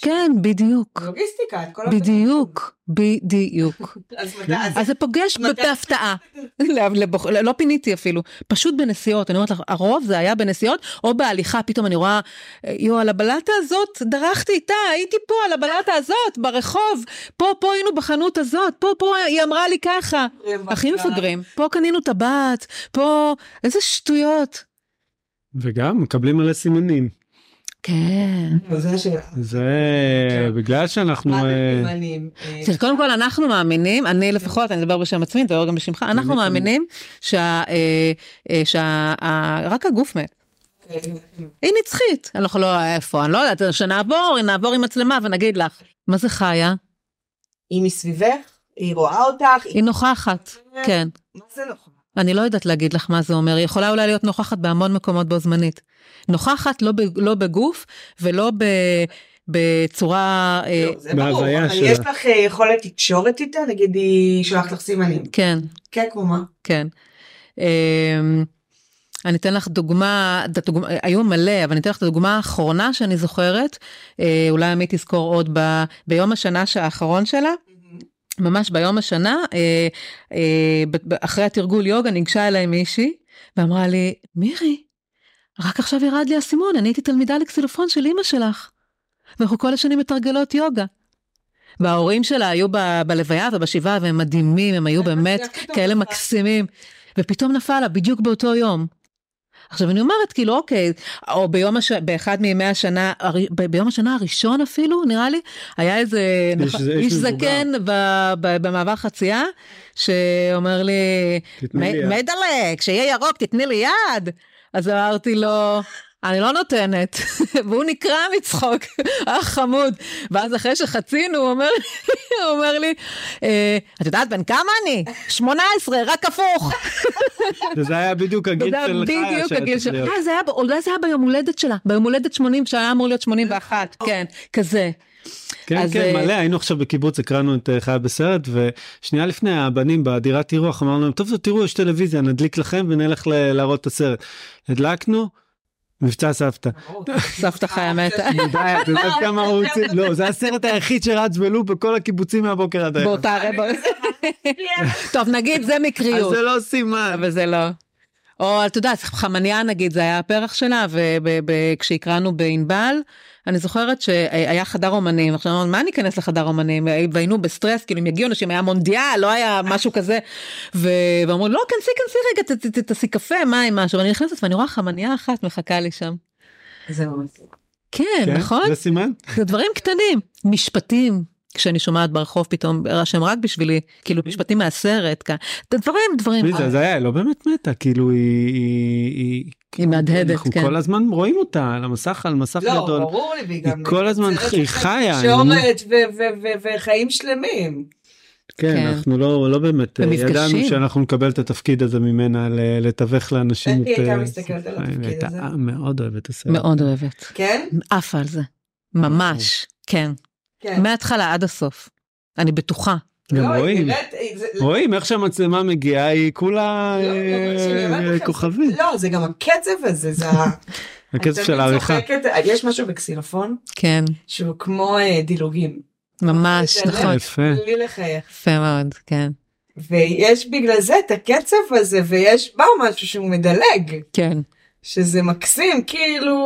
E: כן, בדיוק.
C: זה לוגיסטיקה, את כל הדברים.
E: בדיוק, בדיוק.
C: אז מתי, אז
E: אז זה פוגש
C: מתי-
E: בהפתעה. לא- לבוח- לא לא פיניתי אפילו, פשוט בנסיעות. אני אומרת לך, הרוב זה היה בנסיעות, או בהליכה, פתאום אני רואה, יואו, על הבלטה הזאת דרכתי איתה, הייתי פה על הבלטה הזאת, ברחוב, פה, פה היינו בחנות הזאת, פה, פה היא אמרה לי ככה. הכי מפגרים, פה קנינו טבעת, פה, איזה שטויות.
D: וגם מקבלים מלא סימנים.
E: כן.
C: זה השאלה.
D: זה בגלל שאנחנו...
C: כן. מה זה
D: אה,
C: סימנים? אה,
E: תראה, קודם כל אנחנו מאמינים, אני לפחות, אני אדבר בשם עצמי, תדבר גם בשמך, אנחנו
D: אני-
E: מאמינים שה... אה, אה, שה- ה- רק הגוף מת.
C: אה,
E: היא נצחית. אנחנו לא, איפה, אני לא יודעת, שנעבור, נעבור עם מצלמה ונגיד לך. מה זה חיה?
C: היא מסביבך, היא רואה אותך, היא...
E: היא נוכחת. כן.
C: מה זה נכון?
E: אני לא יודעת להגיד לך מה זה אומר, היא יכולה אולי להיות נוכחת בהמון מקומות בו זמנית. נוכחת לא, ב, לא בגוף ולא ב, בצורה... אה,
C: לא, זה ברור,
D: בהוויה
C: אבל
D: שלה.
C: יש לך אה, יכולת תקשורת איתה? נגיד היא שולחת לך סימנים.
E: כן,
C: כן, כמו מה?
E: כן. אמ, אני אתן לך דוגמה, את הדוגמה- היו מלא, אבל אני אתן לך את הדוגמה האחרונה שאני זוכרת, אה, אולי עמית תזכור עוד ב, ביום השנה האחרון שלה, ממש ביום השנה, אה, אה, ב- ב- אחרי התרגול יוגה ניגשה אליי מישהי ואמרה לי, מירי, רק עכשיו ירד לי האסימון, אני הייתי תלמידה לקסילופון של אימא שלך. ואנחנו כל השנים מתרגלות יוגה. וההורים שלה היו ב- בלוויה ובשבעה והם מדהימים, הם היו באמת
C: איך פתאום
E: כאלה
C: נפל?
E: מקסימים. ופתאום נפל לה בדיוק באותו יום. עכשיו אני אומרת כאילו אוקיי, או ביום הש... באחד מימי השנה, הר... ב- ביום השנה הראשון אפילו נראה לי, היה איזה
D: איש-
E: נכון,
D: איש
E: איש
D: מבוגר.
E: זקן ב... ב... במעבר חצייה, שאומר לי,
D: תתני לי יד.
E: "מ- מדלק, שיהיה ירוק תתני לי יד. אז אמרתי לו, אני לא נותנת. והוא נקרע מצחוק, אח חמוד. ואז אחרי שחצינו, הוא אומר לי, הוא אומר לי, "אה, את יודעת בן כמה אני? 18, רק הפוך.
D: וזה היה בדיוק הגיל
E: זה היה
D: של חיה
E: בדיוק
D: שהיה
E: הגיל
D: צריך
E: שלה.
D: להיות.
E: אה, זה היה, ב- אולי זה היה ביום הולדת שלה, ביום הולדת 80, שהיה אמור להיות 81, כן, כזה.
D: כן,
E: אז,
D: כן,
E: אה,
D: מלא, היינו עכשיו בקיבוץ, הקראנו את אה, חיה בסרט, ושנייה לפני הבנים בדירת אירוח אמרנו להם, טוב, תראו, יש טלוויזיה, נדליק לכם ונלך ל- להראות את הסרט. הדלקנו, מבצע סבתא.
E: סבתא
C: אה,
E: חיה מתה.
D: די, את יודעת כמה ערוצים, לא, זה הסרט היחיד שרץ בלופ בכל הקיבוצים מהבוקר עד היום.
E: באותה רבע.
C: כן.
E: טוב, נגיד זה
D: אז
E: מקריות,
D: זה לא סימן.
E: אבל זה לא. או אתה יודע, חמניה נגיד, זה היה הפרח שלה, וכשהקראנו בענבל, אני זוכרת שהיה חדר אומנים, עכשיו אמרנו, מה אני אכנס לחדר אומנים? והיינו בסטרס, כאילו אם יגיעו אנשים, היה מונדיאל, לא היה משהו כזה. ו- ואמרו, לא, כנסי, כנסי רגע, ת- ת- ת- תעשי קפה, מים, משהו. ואני נכנסת ואני רואה חמניה אחת מחכה לי שם.
C: זהו.
E: כן,
D: כן,
E: נכון?
D: זה סימן?
E: זה דברים קטנים, משפטים. כשאני שומעת ברחוב פתאום, שהם רק בשבילי, כאילו משפטים מהסרט, כאן. דברים, דברים.
D: מי זה? אז היה, היא לא באמת מתה, כאילו היא- היא... היא-
E: היא מהדהדת,
D: אנחנו
E: כן.
D: כל הזמן רואים אותה על המסך, על מסך
C: לא,
D: גדול.
C: ברור לי, והיא
D: היא
C: גם...
D: כל הזמן,
C: יוצרת
D: היא
C: לך
D: חיה. אני לא-
C: תקשורת ו- ו- ו- וחיים שלמים.
D: כן,
E: כן.
D: אנחנו לא, לא באמת, אה,
E: במפגשים.
D: ידענו שאנחנו נקבל את התפקיד הזה ממנה ל- לתווך לאנשים את...
C: היא הייתה
D: אה,
C: מסתכלת על
D: החיים,
C: התפקיד
D: והיא הייתה
C: הזה.
D: מאוד אוהבת את הסרט.
E: מאוד אוהבת.
C: כן?
E: עפה על זה. ממש.
D: אוקיי.
E: כן.
C: כן.
E: מההתחלה עד הסוף. אני בטוחה.
D: גם
C: לא, היא
D: רואים,
C: נראית- היא- זה-
D: רואים איך שהמצלמה מגיעה, היא כולה
C: לא, לא,
D: אה,
C: שאני אומרת לכם,
D: כוכבית.
C: לא, זה גם הקצב הזה, זה ה...
D: הכסף
C: אני
D: של
C: תמיד
D: העריכה.
C: צוחקת, אה, יש משהו בקסילופון
E: כן.
C: שהוא כמו אה, דילוגים.
E: ממש,
C: זה
E: נכון.
D: יפה.
C: בלי לחייך.
E: יפה מאוד, כן.
C: ויש בגלל זה את הקצב הזה, ויש בה משהו שהוא מדלג,
E: כן.
C: שזה מקסים, כאילו...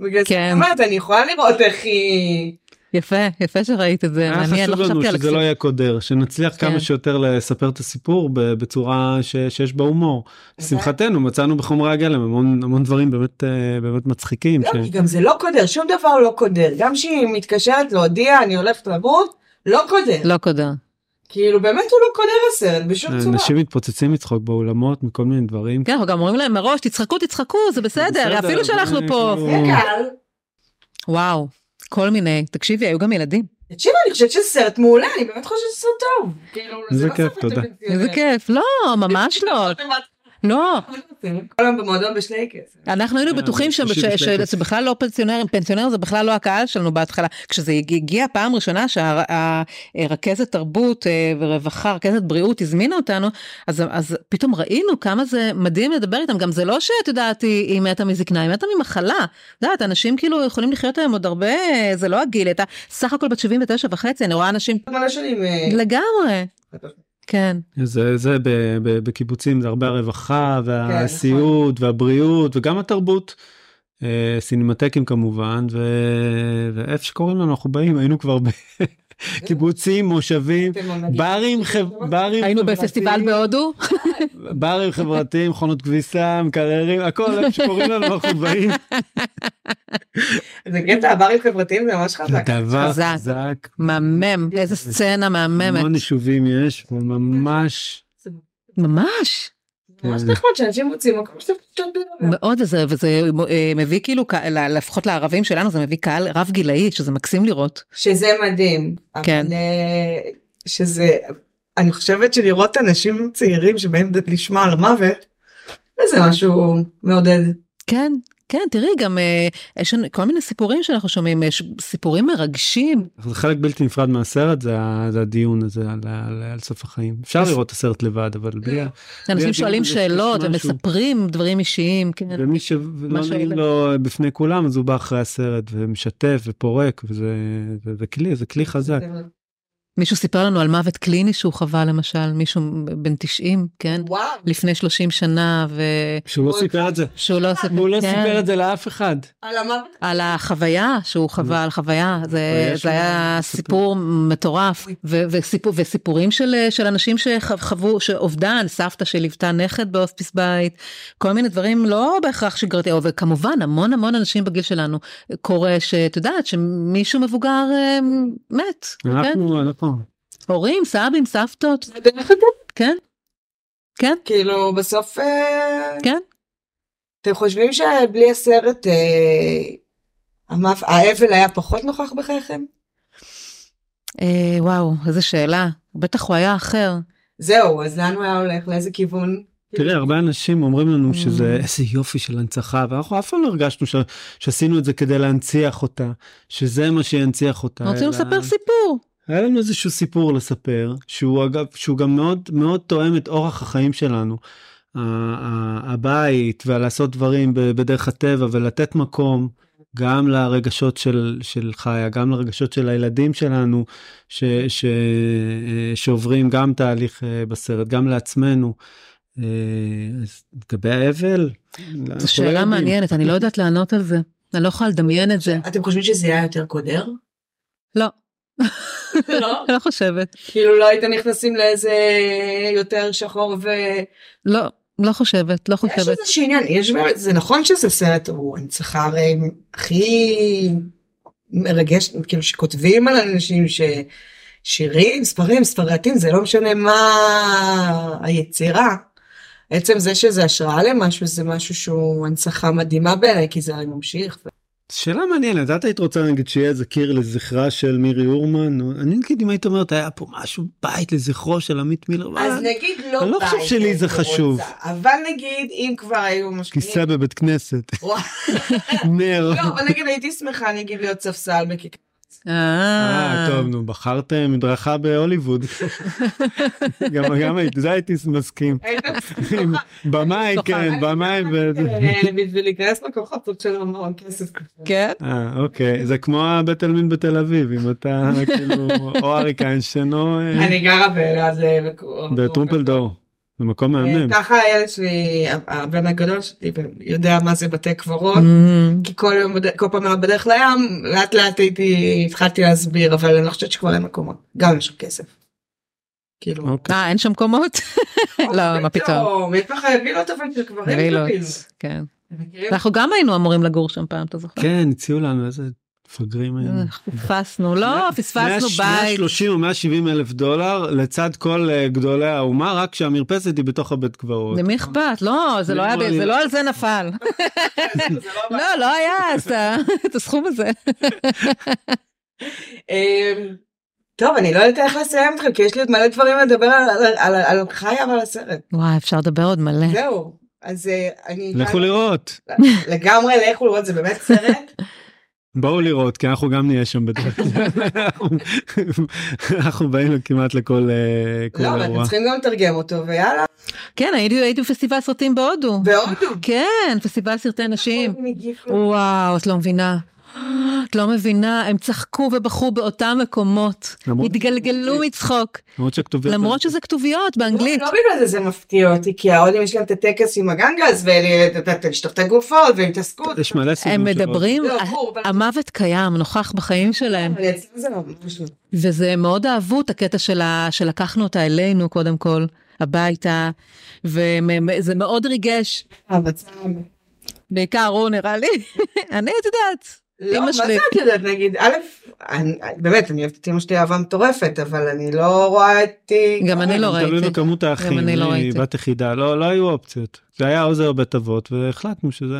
C: בגלל זה אני
E: כן.
C: אומרת, אני יכולה לראות איך היא...
E: יפה, יפה שראית את זה.
D: היה
E: מעניין, לא
D: חשוב לנו
E: חשבתי על
D: שזה לא
E: הכסף.
D: יהיה קודר, שנצליח כמה
E: כן.
D: שיותר לספר את הסיפור ב- בצורה ש- שיש בה הומור.
C: אוקיי.
D: לשמחתנו מצאנו בחומרי הגלם המון המון דברים באמת אה, באמת מצחיקים.
C: לא,
D: ש-
C: כי גם זה לא קודר, שום דבר הוא לא קודר. גם כשהיא מתקשרת להודיע, אני הולכת למות, לא קודר.
E: לא קודר.
C: כאילו, באמת הוא לא קודר הסרט, בשום צורה.
D: אה, אנשים מתפוצצים מצחוק באולמות מכל מיני דברים.
E: כן, אנחנו גם אומרים להם מראש, תצחקו, תצחקו, זה בסדר,
D: בסדר,
E: אפילו שאנחנו
D: אבל
E: פה.
D: כאילו-
C: זה קל.
E: וואו, כל מיני. תקשיבי, היו גם ילדים.
C: תקשיבו, אני חושבת שזה סרט מעולה, אני באמת חושבת שזה סרט טוב. כאילו,
D: זה
C: לא
D: כיף,
C: סרט כאילו,
D: תודה.
C: טלוויזיוני.
E: איזה כיף. לא, ממש לא. לא.
C: כל היום במועדון בשלייקס.
E: אנחנו היינו
D: כן,
E: בטוחים שם
D: שישי
E: ש-
D: בשלייקס.
E: שזה בכלל לא פנסיונרים, פנסיונרים זה בכלל לא הקהל שלנו בהתחלה. כשזה הג- הגיע פעם ראשונה שהרכזת תרבות אה, ורווחה, רכזת בריאות הזמינה אותנו, אז, אז פתאום ראינו כמה זה מדהים לדבר איתם. גם זה לא שאת יודעת, היא היא מתה מזקנה, היא מתה ממחלה. את יודעת, אנשים כאילו יכולים לחיות היום עוד הרבה, אה, זה לא הגיל, היא הייתה סך הכל בת 79 וחצי, אני רואה אנשים
C: מלא שנים. אה,
E: לגמרי. כן,
D: זה זה ב- ב- בקיבוצים זה הרבה הרווחה והסיעוד והבריאות וגם התרבות. אה, סינמטקים כמובן ו- ואיפה שקוראים לנו אנחנו באים היינו כבר בקיבוצים מושבים
C: אתם לא נגיד.
D: ברים חב- ברים
E: היינו בפסטיבל
D: חברתיים.
E: בהודו.
D: ברים חברתיים, מכונות כביסה, מקררים, הכל, איך שקוראים לנו, אנחנו באים.
C: זה קטע, הברים חברתיים זה ממש
D: זה
C: חזק.
D: דבר
E: חזק.
D: חזק.
E: מהמם, איזה סצנה
D: המון
E: מהממת.
D: יישובים יש, וממש,
E: ממש.
C: ממש נחמד שאנשים מוצאים מקום שאתם פשוט בלבד.
E: מאוד וזה וזה אה, מביא כאילו ק- ל- לפחות לערבים שלנו זה מביא קהל רב גילאי שזה מקסים לראות.
C: שזה מדהים.
E: כן.
C: אבל, אה, שזה, אני חושבת שלראות אנשים צעירים שבאים לשמוע על המוות, זה משהו מעודד.
E: כן כן תראי גם אה, יש לנו כל מיני סיפורים שאנחנו שומעים יש סיפורים מרגשים
D: זה חלק בלתי נפרד מהסרט, זה ה- זה הדיון הזה על ה- על- על סוף החיים. אפשר לראות את הסרט לבד, אבל בלי... ה-
E: אנשים
D: הדיון
E: שואלים
D: הזה יש
E: שאלות
D: משהו.
E: ומספרים דברים אישיים כן
D: ומי שלא
E: משהו
D: נעים
E: אלה.
D: לו בפני כולם, אז הוא בא אחרי הסרט ומשתף ופורק, וזה זה- זה כלי, זה כלי חזק.
E: מישהו סיפר לנו על מוות קליני שהוא חווה למשל מישהו בן 90 כן
C: וואו.
E: לפני 30 שנה ושהוא
D: שהוא לא סיפר את זה.
E: לא סיפר
D: הוא לא
E: כן,
D: סיפר את זה לאף אחד.
C: על המוות.
E: על החוויה שהוא חווה, על חוויה, זה,
D: יש
E: זה
D: לו
E: היה
D: סיפור.
E: סיפור מטורף, ו- וסיפור, וסיפורים של, של אנשים שחוו, שאובדן, סבתא שליוותה נכד בהוספיס בית, כל מיני דברים לא בהכרח שגרתי, וכמובן המון המון אנשים בגיל שלנו קורה שאת יודעת שמישהו מבוגר אה, מת, כן?
D: אנחנו, אנחנו,
E: הורים, סבים, סבתות, כן, כן,
C: כאילו בסוף אה,
E: כן,
C: אתם חושבים שבלי הסרט אה, המפ... האבל היה פחות נוכח בחייכם?
E: אה, וואו, איזה שאלה. בטח הוא היה אחר.
C: זהו, אז לאן הוא היה הולך? לאיזה כיוון?
D: תראה, הרבה אנשים אומרים לנו שזה איזה יופי של הנצחה, ואנחנו אף פעם לא הרגשנו ש- שעשינו את זה כדי להנציח אותה, שזה מה שינציח אותה.
E: אנחנו רוצים
D: אלא-
E: לספר סיפור.
D: היה לנו איזשהו סיפור לספר, שהוא אגב, שהוא גם מאוד מאוד תואם את אורח החיים שלנו. ה- ה- הבית והלעשות דברים ב- בדרך הטבע ולתת מקום גם לרגשות של, של חיה, גם לרגשות של הילדים שלנו ש, ש, אה, שעוברים גם תהליך אה, בסרט, גם לעצמנו. אה, אז לגבי האבל, אנחנו לא
E: זו שאלה
D: יודעים.
E: מעניינת, אני לא יודעת לענות על זה. אני לא יכולה לדמיין את זה.
C: אתם חושבים שזה היה יותר קודר?
E: לא,
C: לא.
E: אני לא חושבת.
C: כאילו לא הייתם נכנסים לאיזה יותר שחור ו...
E: לא, לא חושבת, לא
C: יש
E: חושבת.
C: איזשהו עניין, יש באמת, זה נכון שזה סרט, הוא הנצחה הרי הכי מרגש, כאילו שכותבים על אנשים ש... שירים, ספרים, ספרייתים, זה לא משנה מה היצירה. עצם זה שזה השראה למשהו, זה משהו שהוא הנצחה מדהימה בעיניי, כי זה הרי ממשיך.
D: שאלה מעניינת, את היית רוצה נגיד שיהיה איזה קיר לזכרה של מירי אורמן? או- אני נגיד אם היית אומרת היה פה משהו בית לזכרו של עמית מילר,
C: אז
D: אה,
C: נגיד לא
D: אני לא חושב
C: בית,
D: שלי זה
C: הייתי
D: חשוב.
C: רוצה, אבל נגיד, אם כבר היו משקיעים...
D: כיסא בבית כנסת,
C: וואי,
D: נר.
C: לא, אבל נגיד הייתי שמחה נגיד להיות ספסל בכיכר.
D: אה,
E: אה,
D: טוב, נו, בחרת מדרכה בהוליווד. גם גם הייתי, זה הייתי מסכים.
C: היית
D: עם במאי,
E: זוכה.
D: כן, במאי. ו-
C: אה, בשביל להיכנס לכוכבות של המון כסף.
E: כן?
D: אה, אוקיי, זה כמו הבית עלמין בתל אביב, אם אתה כאילו או אריק איינשטיין או אה,
C: אני לא גרה באלעד. אה,
D: בטרומפלדור. זה מקום מהמם.
C: ככה הילד שלי, הבן הגדול שלי, יודע מה זה בתי קברות.
D: Mm.
E: אמ,
C: כי כל יום, בד- כל פעם היה בדרך לים, לאט לאט הייתי, התחלתי להסביר, אבל אני לא חושבת שכבר אין מקומות. גם יש לך כסף. כאילו.
D: אוקיי.
E: אה, אין שם קומות? לא, מה פתאום.
C: יש לך וילות אבל של גברים
E: וילות,
C: כאילו.
E: כן.
C: אתם מכירים?
E: אנחנו גם היינו אמורים לגור שם פעם, אתה זוכר?
D: כן, הציעו לנו איזה מפגרים
C: אה,
D: היינו.
E: אנחנו פספסנו, לא, פספסנו בית.
D: 130 או 170 אלף דולר לצד כל אה, גדולי האומה, רק שהמרפסת היא בתוך הבית קברות.
E: למי אכפת? לא, זה לא היה, ב- זה לא על זה נפל.
C: זה לא
E: לא, לא היה אז את ה- את הסכום הזה.
C: אמ, טוב, אני לא יודעת איך לסיים אתכם, כי יש לי עוד מלא דברים לדבר על- על- על- על על חיה ועל הסרט.
E: וואי, אפשר לדבר עוד מלא.
C: זהו. אז אה, אני...
D: לכו לראות,
C: לגמרי, לכו לראות, זה באמת סרט.
D: בואו לראות, כי אנחנו גם נהיה שם בדרך כלל. אנחנו באים כמעט לכל אה, כל
C: לא, אבל אתם
D: אירוע.
C: צריכים גם לתרגם אותו, ויאללה.
E: כן, הייתי הייתי בפסטיבל סרטים בהודו.
C: בהודו.
E: כן, פסטיבל סרטי נשים.
C: הם הגיבו.
E: וואו, את לא מבינה. את לא מבינה, הם צחקו ובכו באותם מקומות.
D: למרות-
E: התגלגלו מצחוק.
D: למרות שהכתוביות...
E: למרות שזה כתוביות באנגלית.
C: לא בגלל זה זה מפתיע אותי, כי ההודים יש להם את הטקס עם הגנגס, ולשטוף את הגופות, והתעסקות.
D: יש מלא סיפורים
E: הם מדברים,
C: לא, ברור, אבל-
E: המוות קיים, נוכח בחיים שלהם.
C: אבל אצלם זה ממש לא.
E: וזה מאוד אהבו את הקטע של ה- שלקחנו אותה אלינו קודם כל, הביתה, וזה מאוד ריגש,
C: המצב.
E: בעיקר הוא נראה לי, אני את יודעת,
C: לא,
E: אמא
C: מה
E: שלי.
C: זה את יודעת, נגיד, א', אני- באמת, אני אוהבת את אמא שלי אהבה מטורפת, אבל אני לא רואה את...
E: גם אני לא
D: תלוי
E: ראיתי.
D: בכמות האחים,
E: אני
D: היא
E: לא ראיתי.
D: בת יחידה, לא לא היו אופציות. זה היה עוזר בית אבות, והחלטנו שזה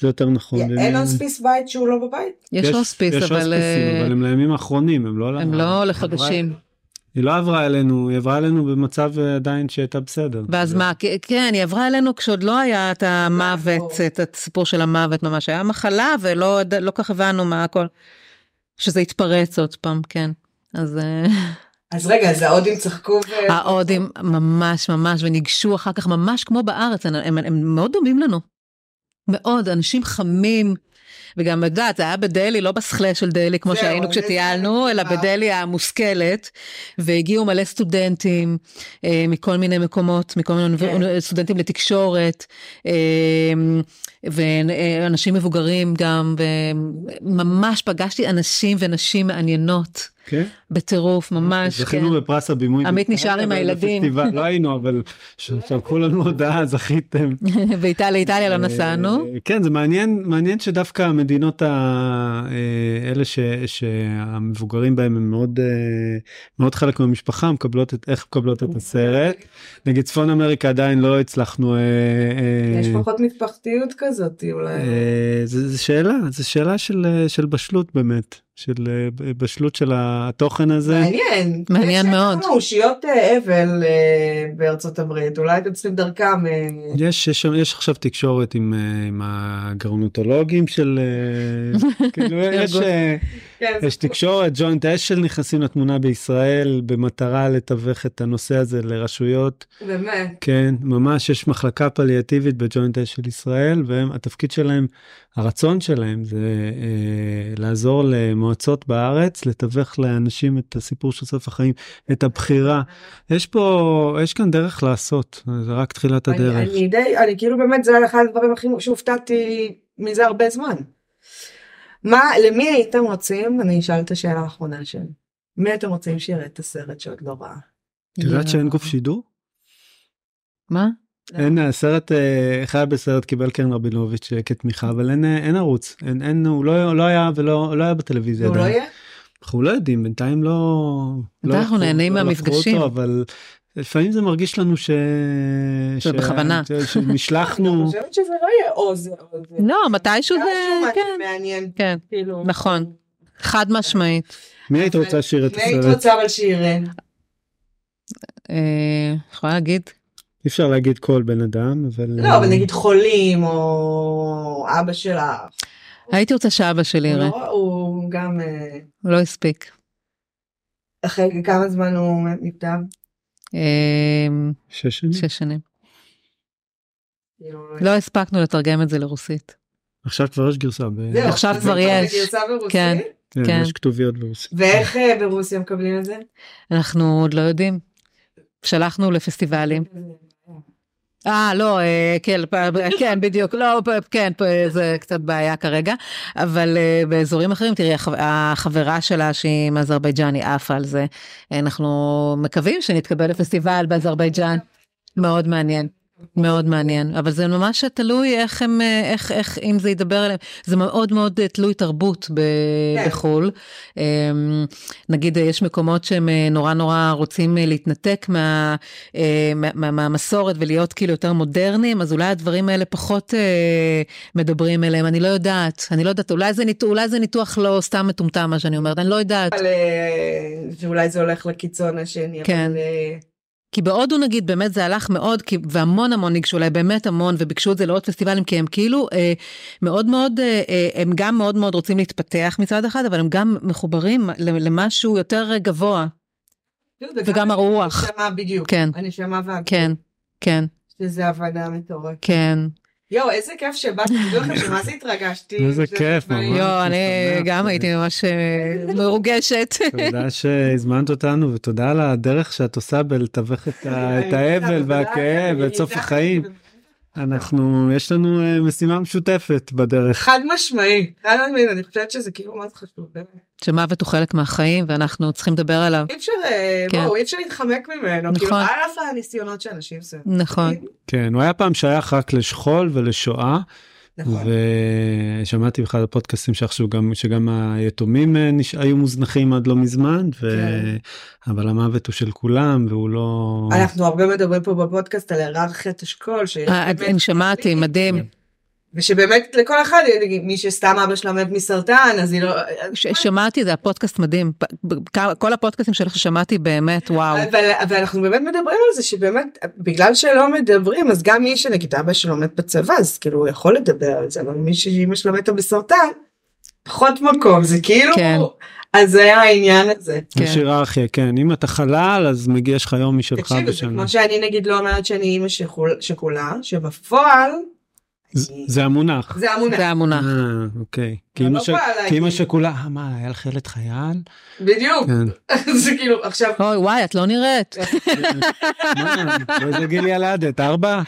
D: זה יותר נכון.
C: אין הוספיס בית שהוא לא בבית?
E: יש הוספיס,
D: יש
E: אבל
D: הוספיסים,
E: אה,
D: אבל הם לימים האחרונים, הם לא...
E: הם
D: ל-
E: לא
D: עברה-
E: לחודשים.
D: היא לא עברה אלינו, היא עברה אלינו במצב אה, עדיין שהייתה בסדר.
E: ואז מה, כ- כן, היא עברה אלינו כשעוד לא היה את המוות,
C: ברור.
E: את הסיפור של המוות ממש, היה מחלה ולא יד- לא כך הבנו מה הכל, שזה התפרץ עוד פעם, כן. אז אה,
C: אז רגע, אז ההודים צחקו ו...
E: ההודים ממש ממש וניגשו אחר כך ממש כמו בארץ הם, הם, הם מאוד דומים לנו. מאוד אנשים חמים וגם את יודעת זה היה בדלהי לא בסכלה של דלהי כמו
C: זהו,
E: שהיינו
C: אני-
E: כשטיילנו אלא בדלהי המושכלת והגיעו מלא סטודנטים אה, מכל מיני מקומות מכל מיני
C: כן.
E: אוניבר- סטודנטים לתקשורת אה, ואנשים מבוגרים גם וממש פגשתי אנשים ונשים מעניינות.
D: כן?
E: בטירוף, ממש. כן.
D: זכינו בפרס הבימוי.
E: עמית נשאר עם הילדים.
D: בפסטיבל, לא היינו, אבל ש- שלחו לנו הודעה, זכיתם.
E: באיטליה, איטליה לא נסענו.
D: אה, כן, זה מעניין, מעניין שדווקא המדינות ה- אה, אלה ש- שהמבוגרים בהם הם מאוד, אה, מאוד חלק מהמשפחה, מקבלות את, איך מקבלות את הסרט. נגיד צפון אמריקה עדיין לא הצלחנו... אה, אה,
C: יש פחות משפחתיות כזאת אולי.
D: אה, זה, זה שאלה, זה שאלה של, אה, של בשלות באמת, של אה, ב- בשלות של התוכן הזה.
C: מעניין.
E: מעניין
C: יש
E: מאוד.
C: כמה אושיות אה, אבל אה, בארצות הברית, אולי אתם צריכים דרכם. אה,
D: יש, יש, שם- יש עכשיו תקשורת עם, אה, עם הגרונוטולוגים של... אה, כאילו, יש, אה,
C: כן,
D: יש תקשורת, ג'וינט אשל נכנסים לתמונה בישראל במטרה לתווך את הנושא הזה לרשויות.
C: באמת.
D: כן, ממש יש מחלקה פליאטיבית בג'וינט אשל ישראל, והתפקיד שלהם, הרצון שלהם זה אה, לעזור למועצות בארץ, לתווך לאנשים את הסיפור של סוף החיים, את הבחירה. יש פה, יש כאן דרך לעשות, זה רק תחילת
C: אני-
D: הדרך.
C: אני די, אני כאילו באמת זה היה אחד הדברים הכי שהופתעתי מזה הרבה זמן. מה, למי הייתם רוצים, אני אשאל את השאלה האחרונה שלי. מי אתם רוצים שיראה את הסרט שעוד לא ראה?
D: את יודעת שאין גוף
E: יואו.
D: שידור?
E: מה?
C: לא.
D: אין, הסרט, אה, חי בסרט קיבל קרן רבינוביץ' אה, כתמיכה, אבל אין, אה, אין ערוץ, אין, אין, הוא לא, לא היה ולא לא היה בטלוויזיה.
C: הוא לא
D: עדיין.
C: יהיה?
D: אנחנו לא יודעים, בינתיים לא... לא
E: אנחנו
D: לקחו-
E: נהנים
D: לא לקחו
E: מהמפגשים.
D: אותו, אבל לפעמים זה מרגיש לנו ש... ש-
E: בכוונה.
D: ש- שנשלחנו...
C: אני חושבת שזה לא יהיה או זה או זה.
E: לא, מתישהו
C: משהו
E: זה... כן,
C: מעניין,
E: כן,
C: כאילו.
E: נכון. חד משמעית.
D: מי היית רוצה לשיר את
C: מי היית
D: הסרט?
C: רוצה אבל שיראה?
E: אה, יכולה להגיד?
D: אי אפשר להגיד כל בן אדם, אבל... אה,
C: לא, אבל נגיד חולים, או אבא שלה.
E: הייתי רוצה שאבא שלי
C: הוא
E: יראה,
C: לא- הוא גם, אה,
E: לא הספיק.
C: אחרי כמה זמן הוא מת מפתיו?
E: אה,
D: שש שנים.
E: שש שנים.
C: כאילו,
E: לא הספקנו לתרגם את זה לרוסית.
D: עכשיו כבר יש גרסה. ב...
C: זהו,
E: עכשיו
C: זה
E: כבר יש.
C: בגרסה ברוסית?
E: כן.
D: כן,
E: כן.
D: יש כתוביות ברוסית.
C: ואיך אה, ברוסיה מקבלים את זה?
E: אנחנו עוד לא יודעים. שלחנו לפסטיבלים. אה, לא, אה, כן, פ- כן, בדיוק, לא, פ- כן, פ- זה קצת בעיה כרגע, אבל אה, באזורים אחרים, תראי, החב- החברה שלה שהיא מאזרבייג'אן, היא עפה על זה. אנחנו מקווים שנתקבל לפסטיבל באזרבייג'אן. מאוד מעניין. מאוד מעניין, אבל זה ממש תלוי איך הם, אה, איך, איך, אם זה ידבר אליהם, זה מאוד מאוד אה, תלוי תרבות ב,
C: כן.
E: בחו"ל. אמ, נגיד אה, יש מקומות שהם אה, נורא נורא רוצים אה, להתנתק מה, אה, מה, מה, מהמסורת ולהיות כאילו יותר מודרניים, אז אולי הדברים האלה פחות אה, מדברים אליהם, אני לא יודעת, אני לא יודעת, אולי זה, ניתוח, אולי זה ניתוח לא סתם מטומטם מה שאני אומרת, אני לא יודעת.
C: אבל אה, שאולי זה הולך לקיצון השני.
E: כן.
C: אבל, אה,
E: כי בהודו נגיד באמת זה הלך מאוד, כי, והמון המון ניגשו אליי, באמת המון, וביקשו את זה לעוד פסטיבלים, כי הם כאילו אה, מאוד מאוד, אה, אה, הם גם מאוד מאוד רוצים להתפתח מצד אחד, אבל הם גם מחוברים ל- למשהו יותר גבוה. וגם הרוח.
C: לא הנשמה בדיוק.
E: כן.
C: הנשמה והגוף.
E: כן, כן,
C: שזה הבנה מטורפת.
E: כן.
C: יואו, איזה כיף שבאת, תדעו לכם שמה זה התרגשתי.
D: איזה
C: זה
D: כיף,
C: מדהים.
D: ממש.
E: יואו, לא, אני
D: משמח.
E: גם הייתי ממש אה, מרוגשת.
D: תודה שהזמנת אותנו ותודה על הדרך שאת עושה בלתווך את ה- את האבל והכאב ואת סוף החיים. אנחנו, יש לנו אה, משימה משותפת בדרך.
C: חד משמעי, חד משמעי, אני חושבת שזה כאילו מאוד חשוב, באמת.
E: שמוות הוא חלק מהחיים, ואנחנו צריכים לדבר עליו.
C: אי אפשר, אה,
E: כן.
C: בואו, אי אפשר להתחמק ממנו, כאילו,
E: נכון.
C: על אף הניסיונות שאנשים עושים.
E: נכון.
D: כן, הוא היה פעם שייך רק לשכול ולשואה,
C: נכון.
D: ושמעתי באחד הפודקאסטים שעכשיו גם, שגם היתומים אה, נש- היו מוזנחים עד לא מזמן, ו...
C: כן.
D: אבל המוות הוא של כולם והוא לא...
C: אנחנו הרבה מדברים פה בפודקאסט על היררכיית אשכול, ש-
E: אה, אני שמעתי, מדהים.
C: ושבאמת לכל אחד, מי שסתם אבא שלה מת מסרטן, אז היא לא...
E: ש- שמעתי, זה הפודקאסט מדהים. ב- ב- כמה- כל הפודקאסטים שלך ששמעתי באמת, וואו.
C: אבל, אבל אנחנו באמת מדברים על זה שבאמת בגלל שלא מדברים אז גם מי שנגיד אבא שלו מת בצבא אז כאילו הוא יכול לדבר על זה אבל מי שאמא שלו מתה בסרטן פחות מקום זה כאילו
E: כן.
C: אז זה היה העניין הזה.
E: כן.
D: יש היררכיה, כן. אם אתה חלל, אז מגיע יש לך יום משלך
C: תקשיבו זה
D: בשנה.
C: כמו שאני נגיד לא אומרת שאני אימא שכול- שכולה שבפועל
D: זה-
C: אני-
D: זה המונח.
C: זה המונח.
E: זה המונח.
D: אה, אוקיי. כי
C: אבל
D: אמא
C: לא
D: ש-
C: בא
D: כי
C: להגיד.
D: אמא שכולה, "אה, מה, היה לך ילד חייל?
C: בדיוק
D: כן.
C: זה כאילו עכשיו
E: אוי, וואי, את לא נראית.
D: מה, לא באיזה גיל ילדת? ארבע?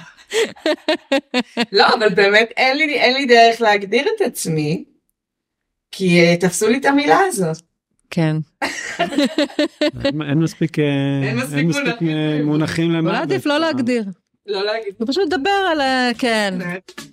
C: לא אבל באמת אין לי אין לי דרך להגדיר את עצמי כי אה, תפסו לי את המילה הזאת.
E: כן.
D: אין- אין מספיק אה,
C: אין מספיק
D: אין מספיק
C: מונחים.
D: אה, מונחים למוות.
E: אולי עדיף לא להגדיר.
C: לא להגיד.
E: הוא פשוט מדבר על... ה- כן.
C: "נת",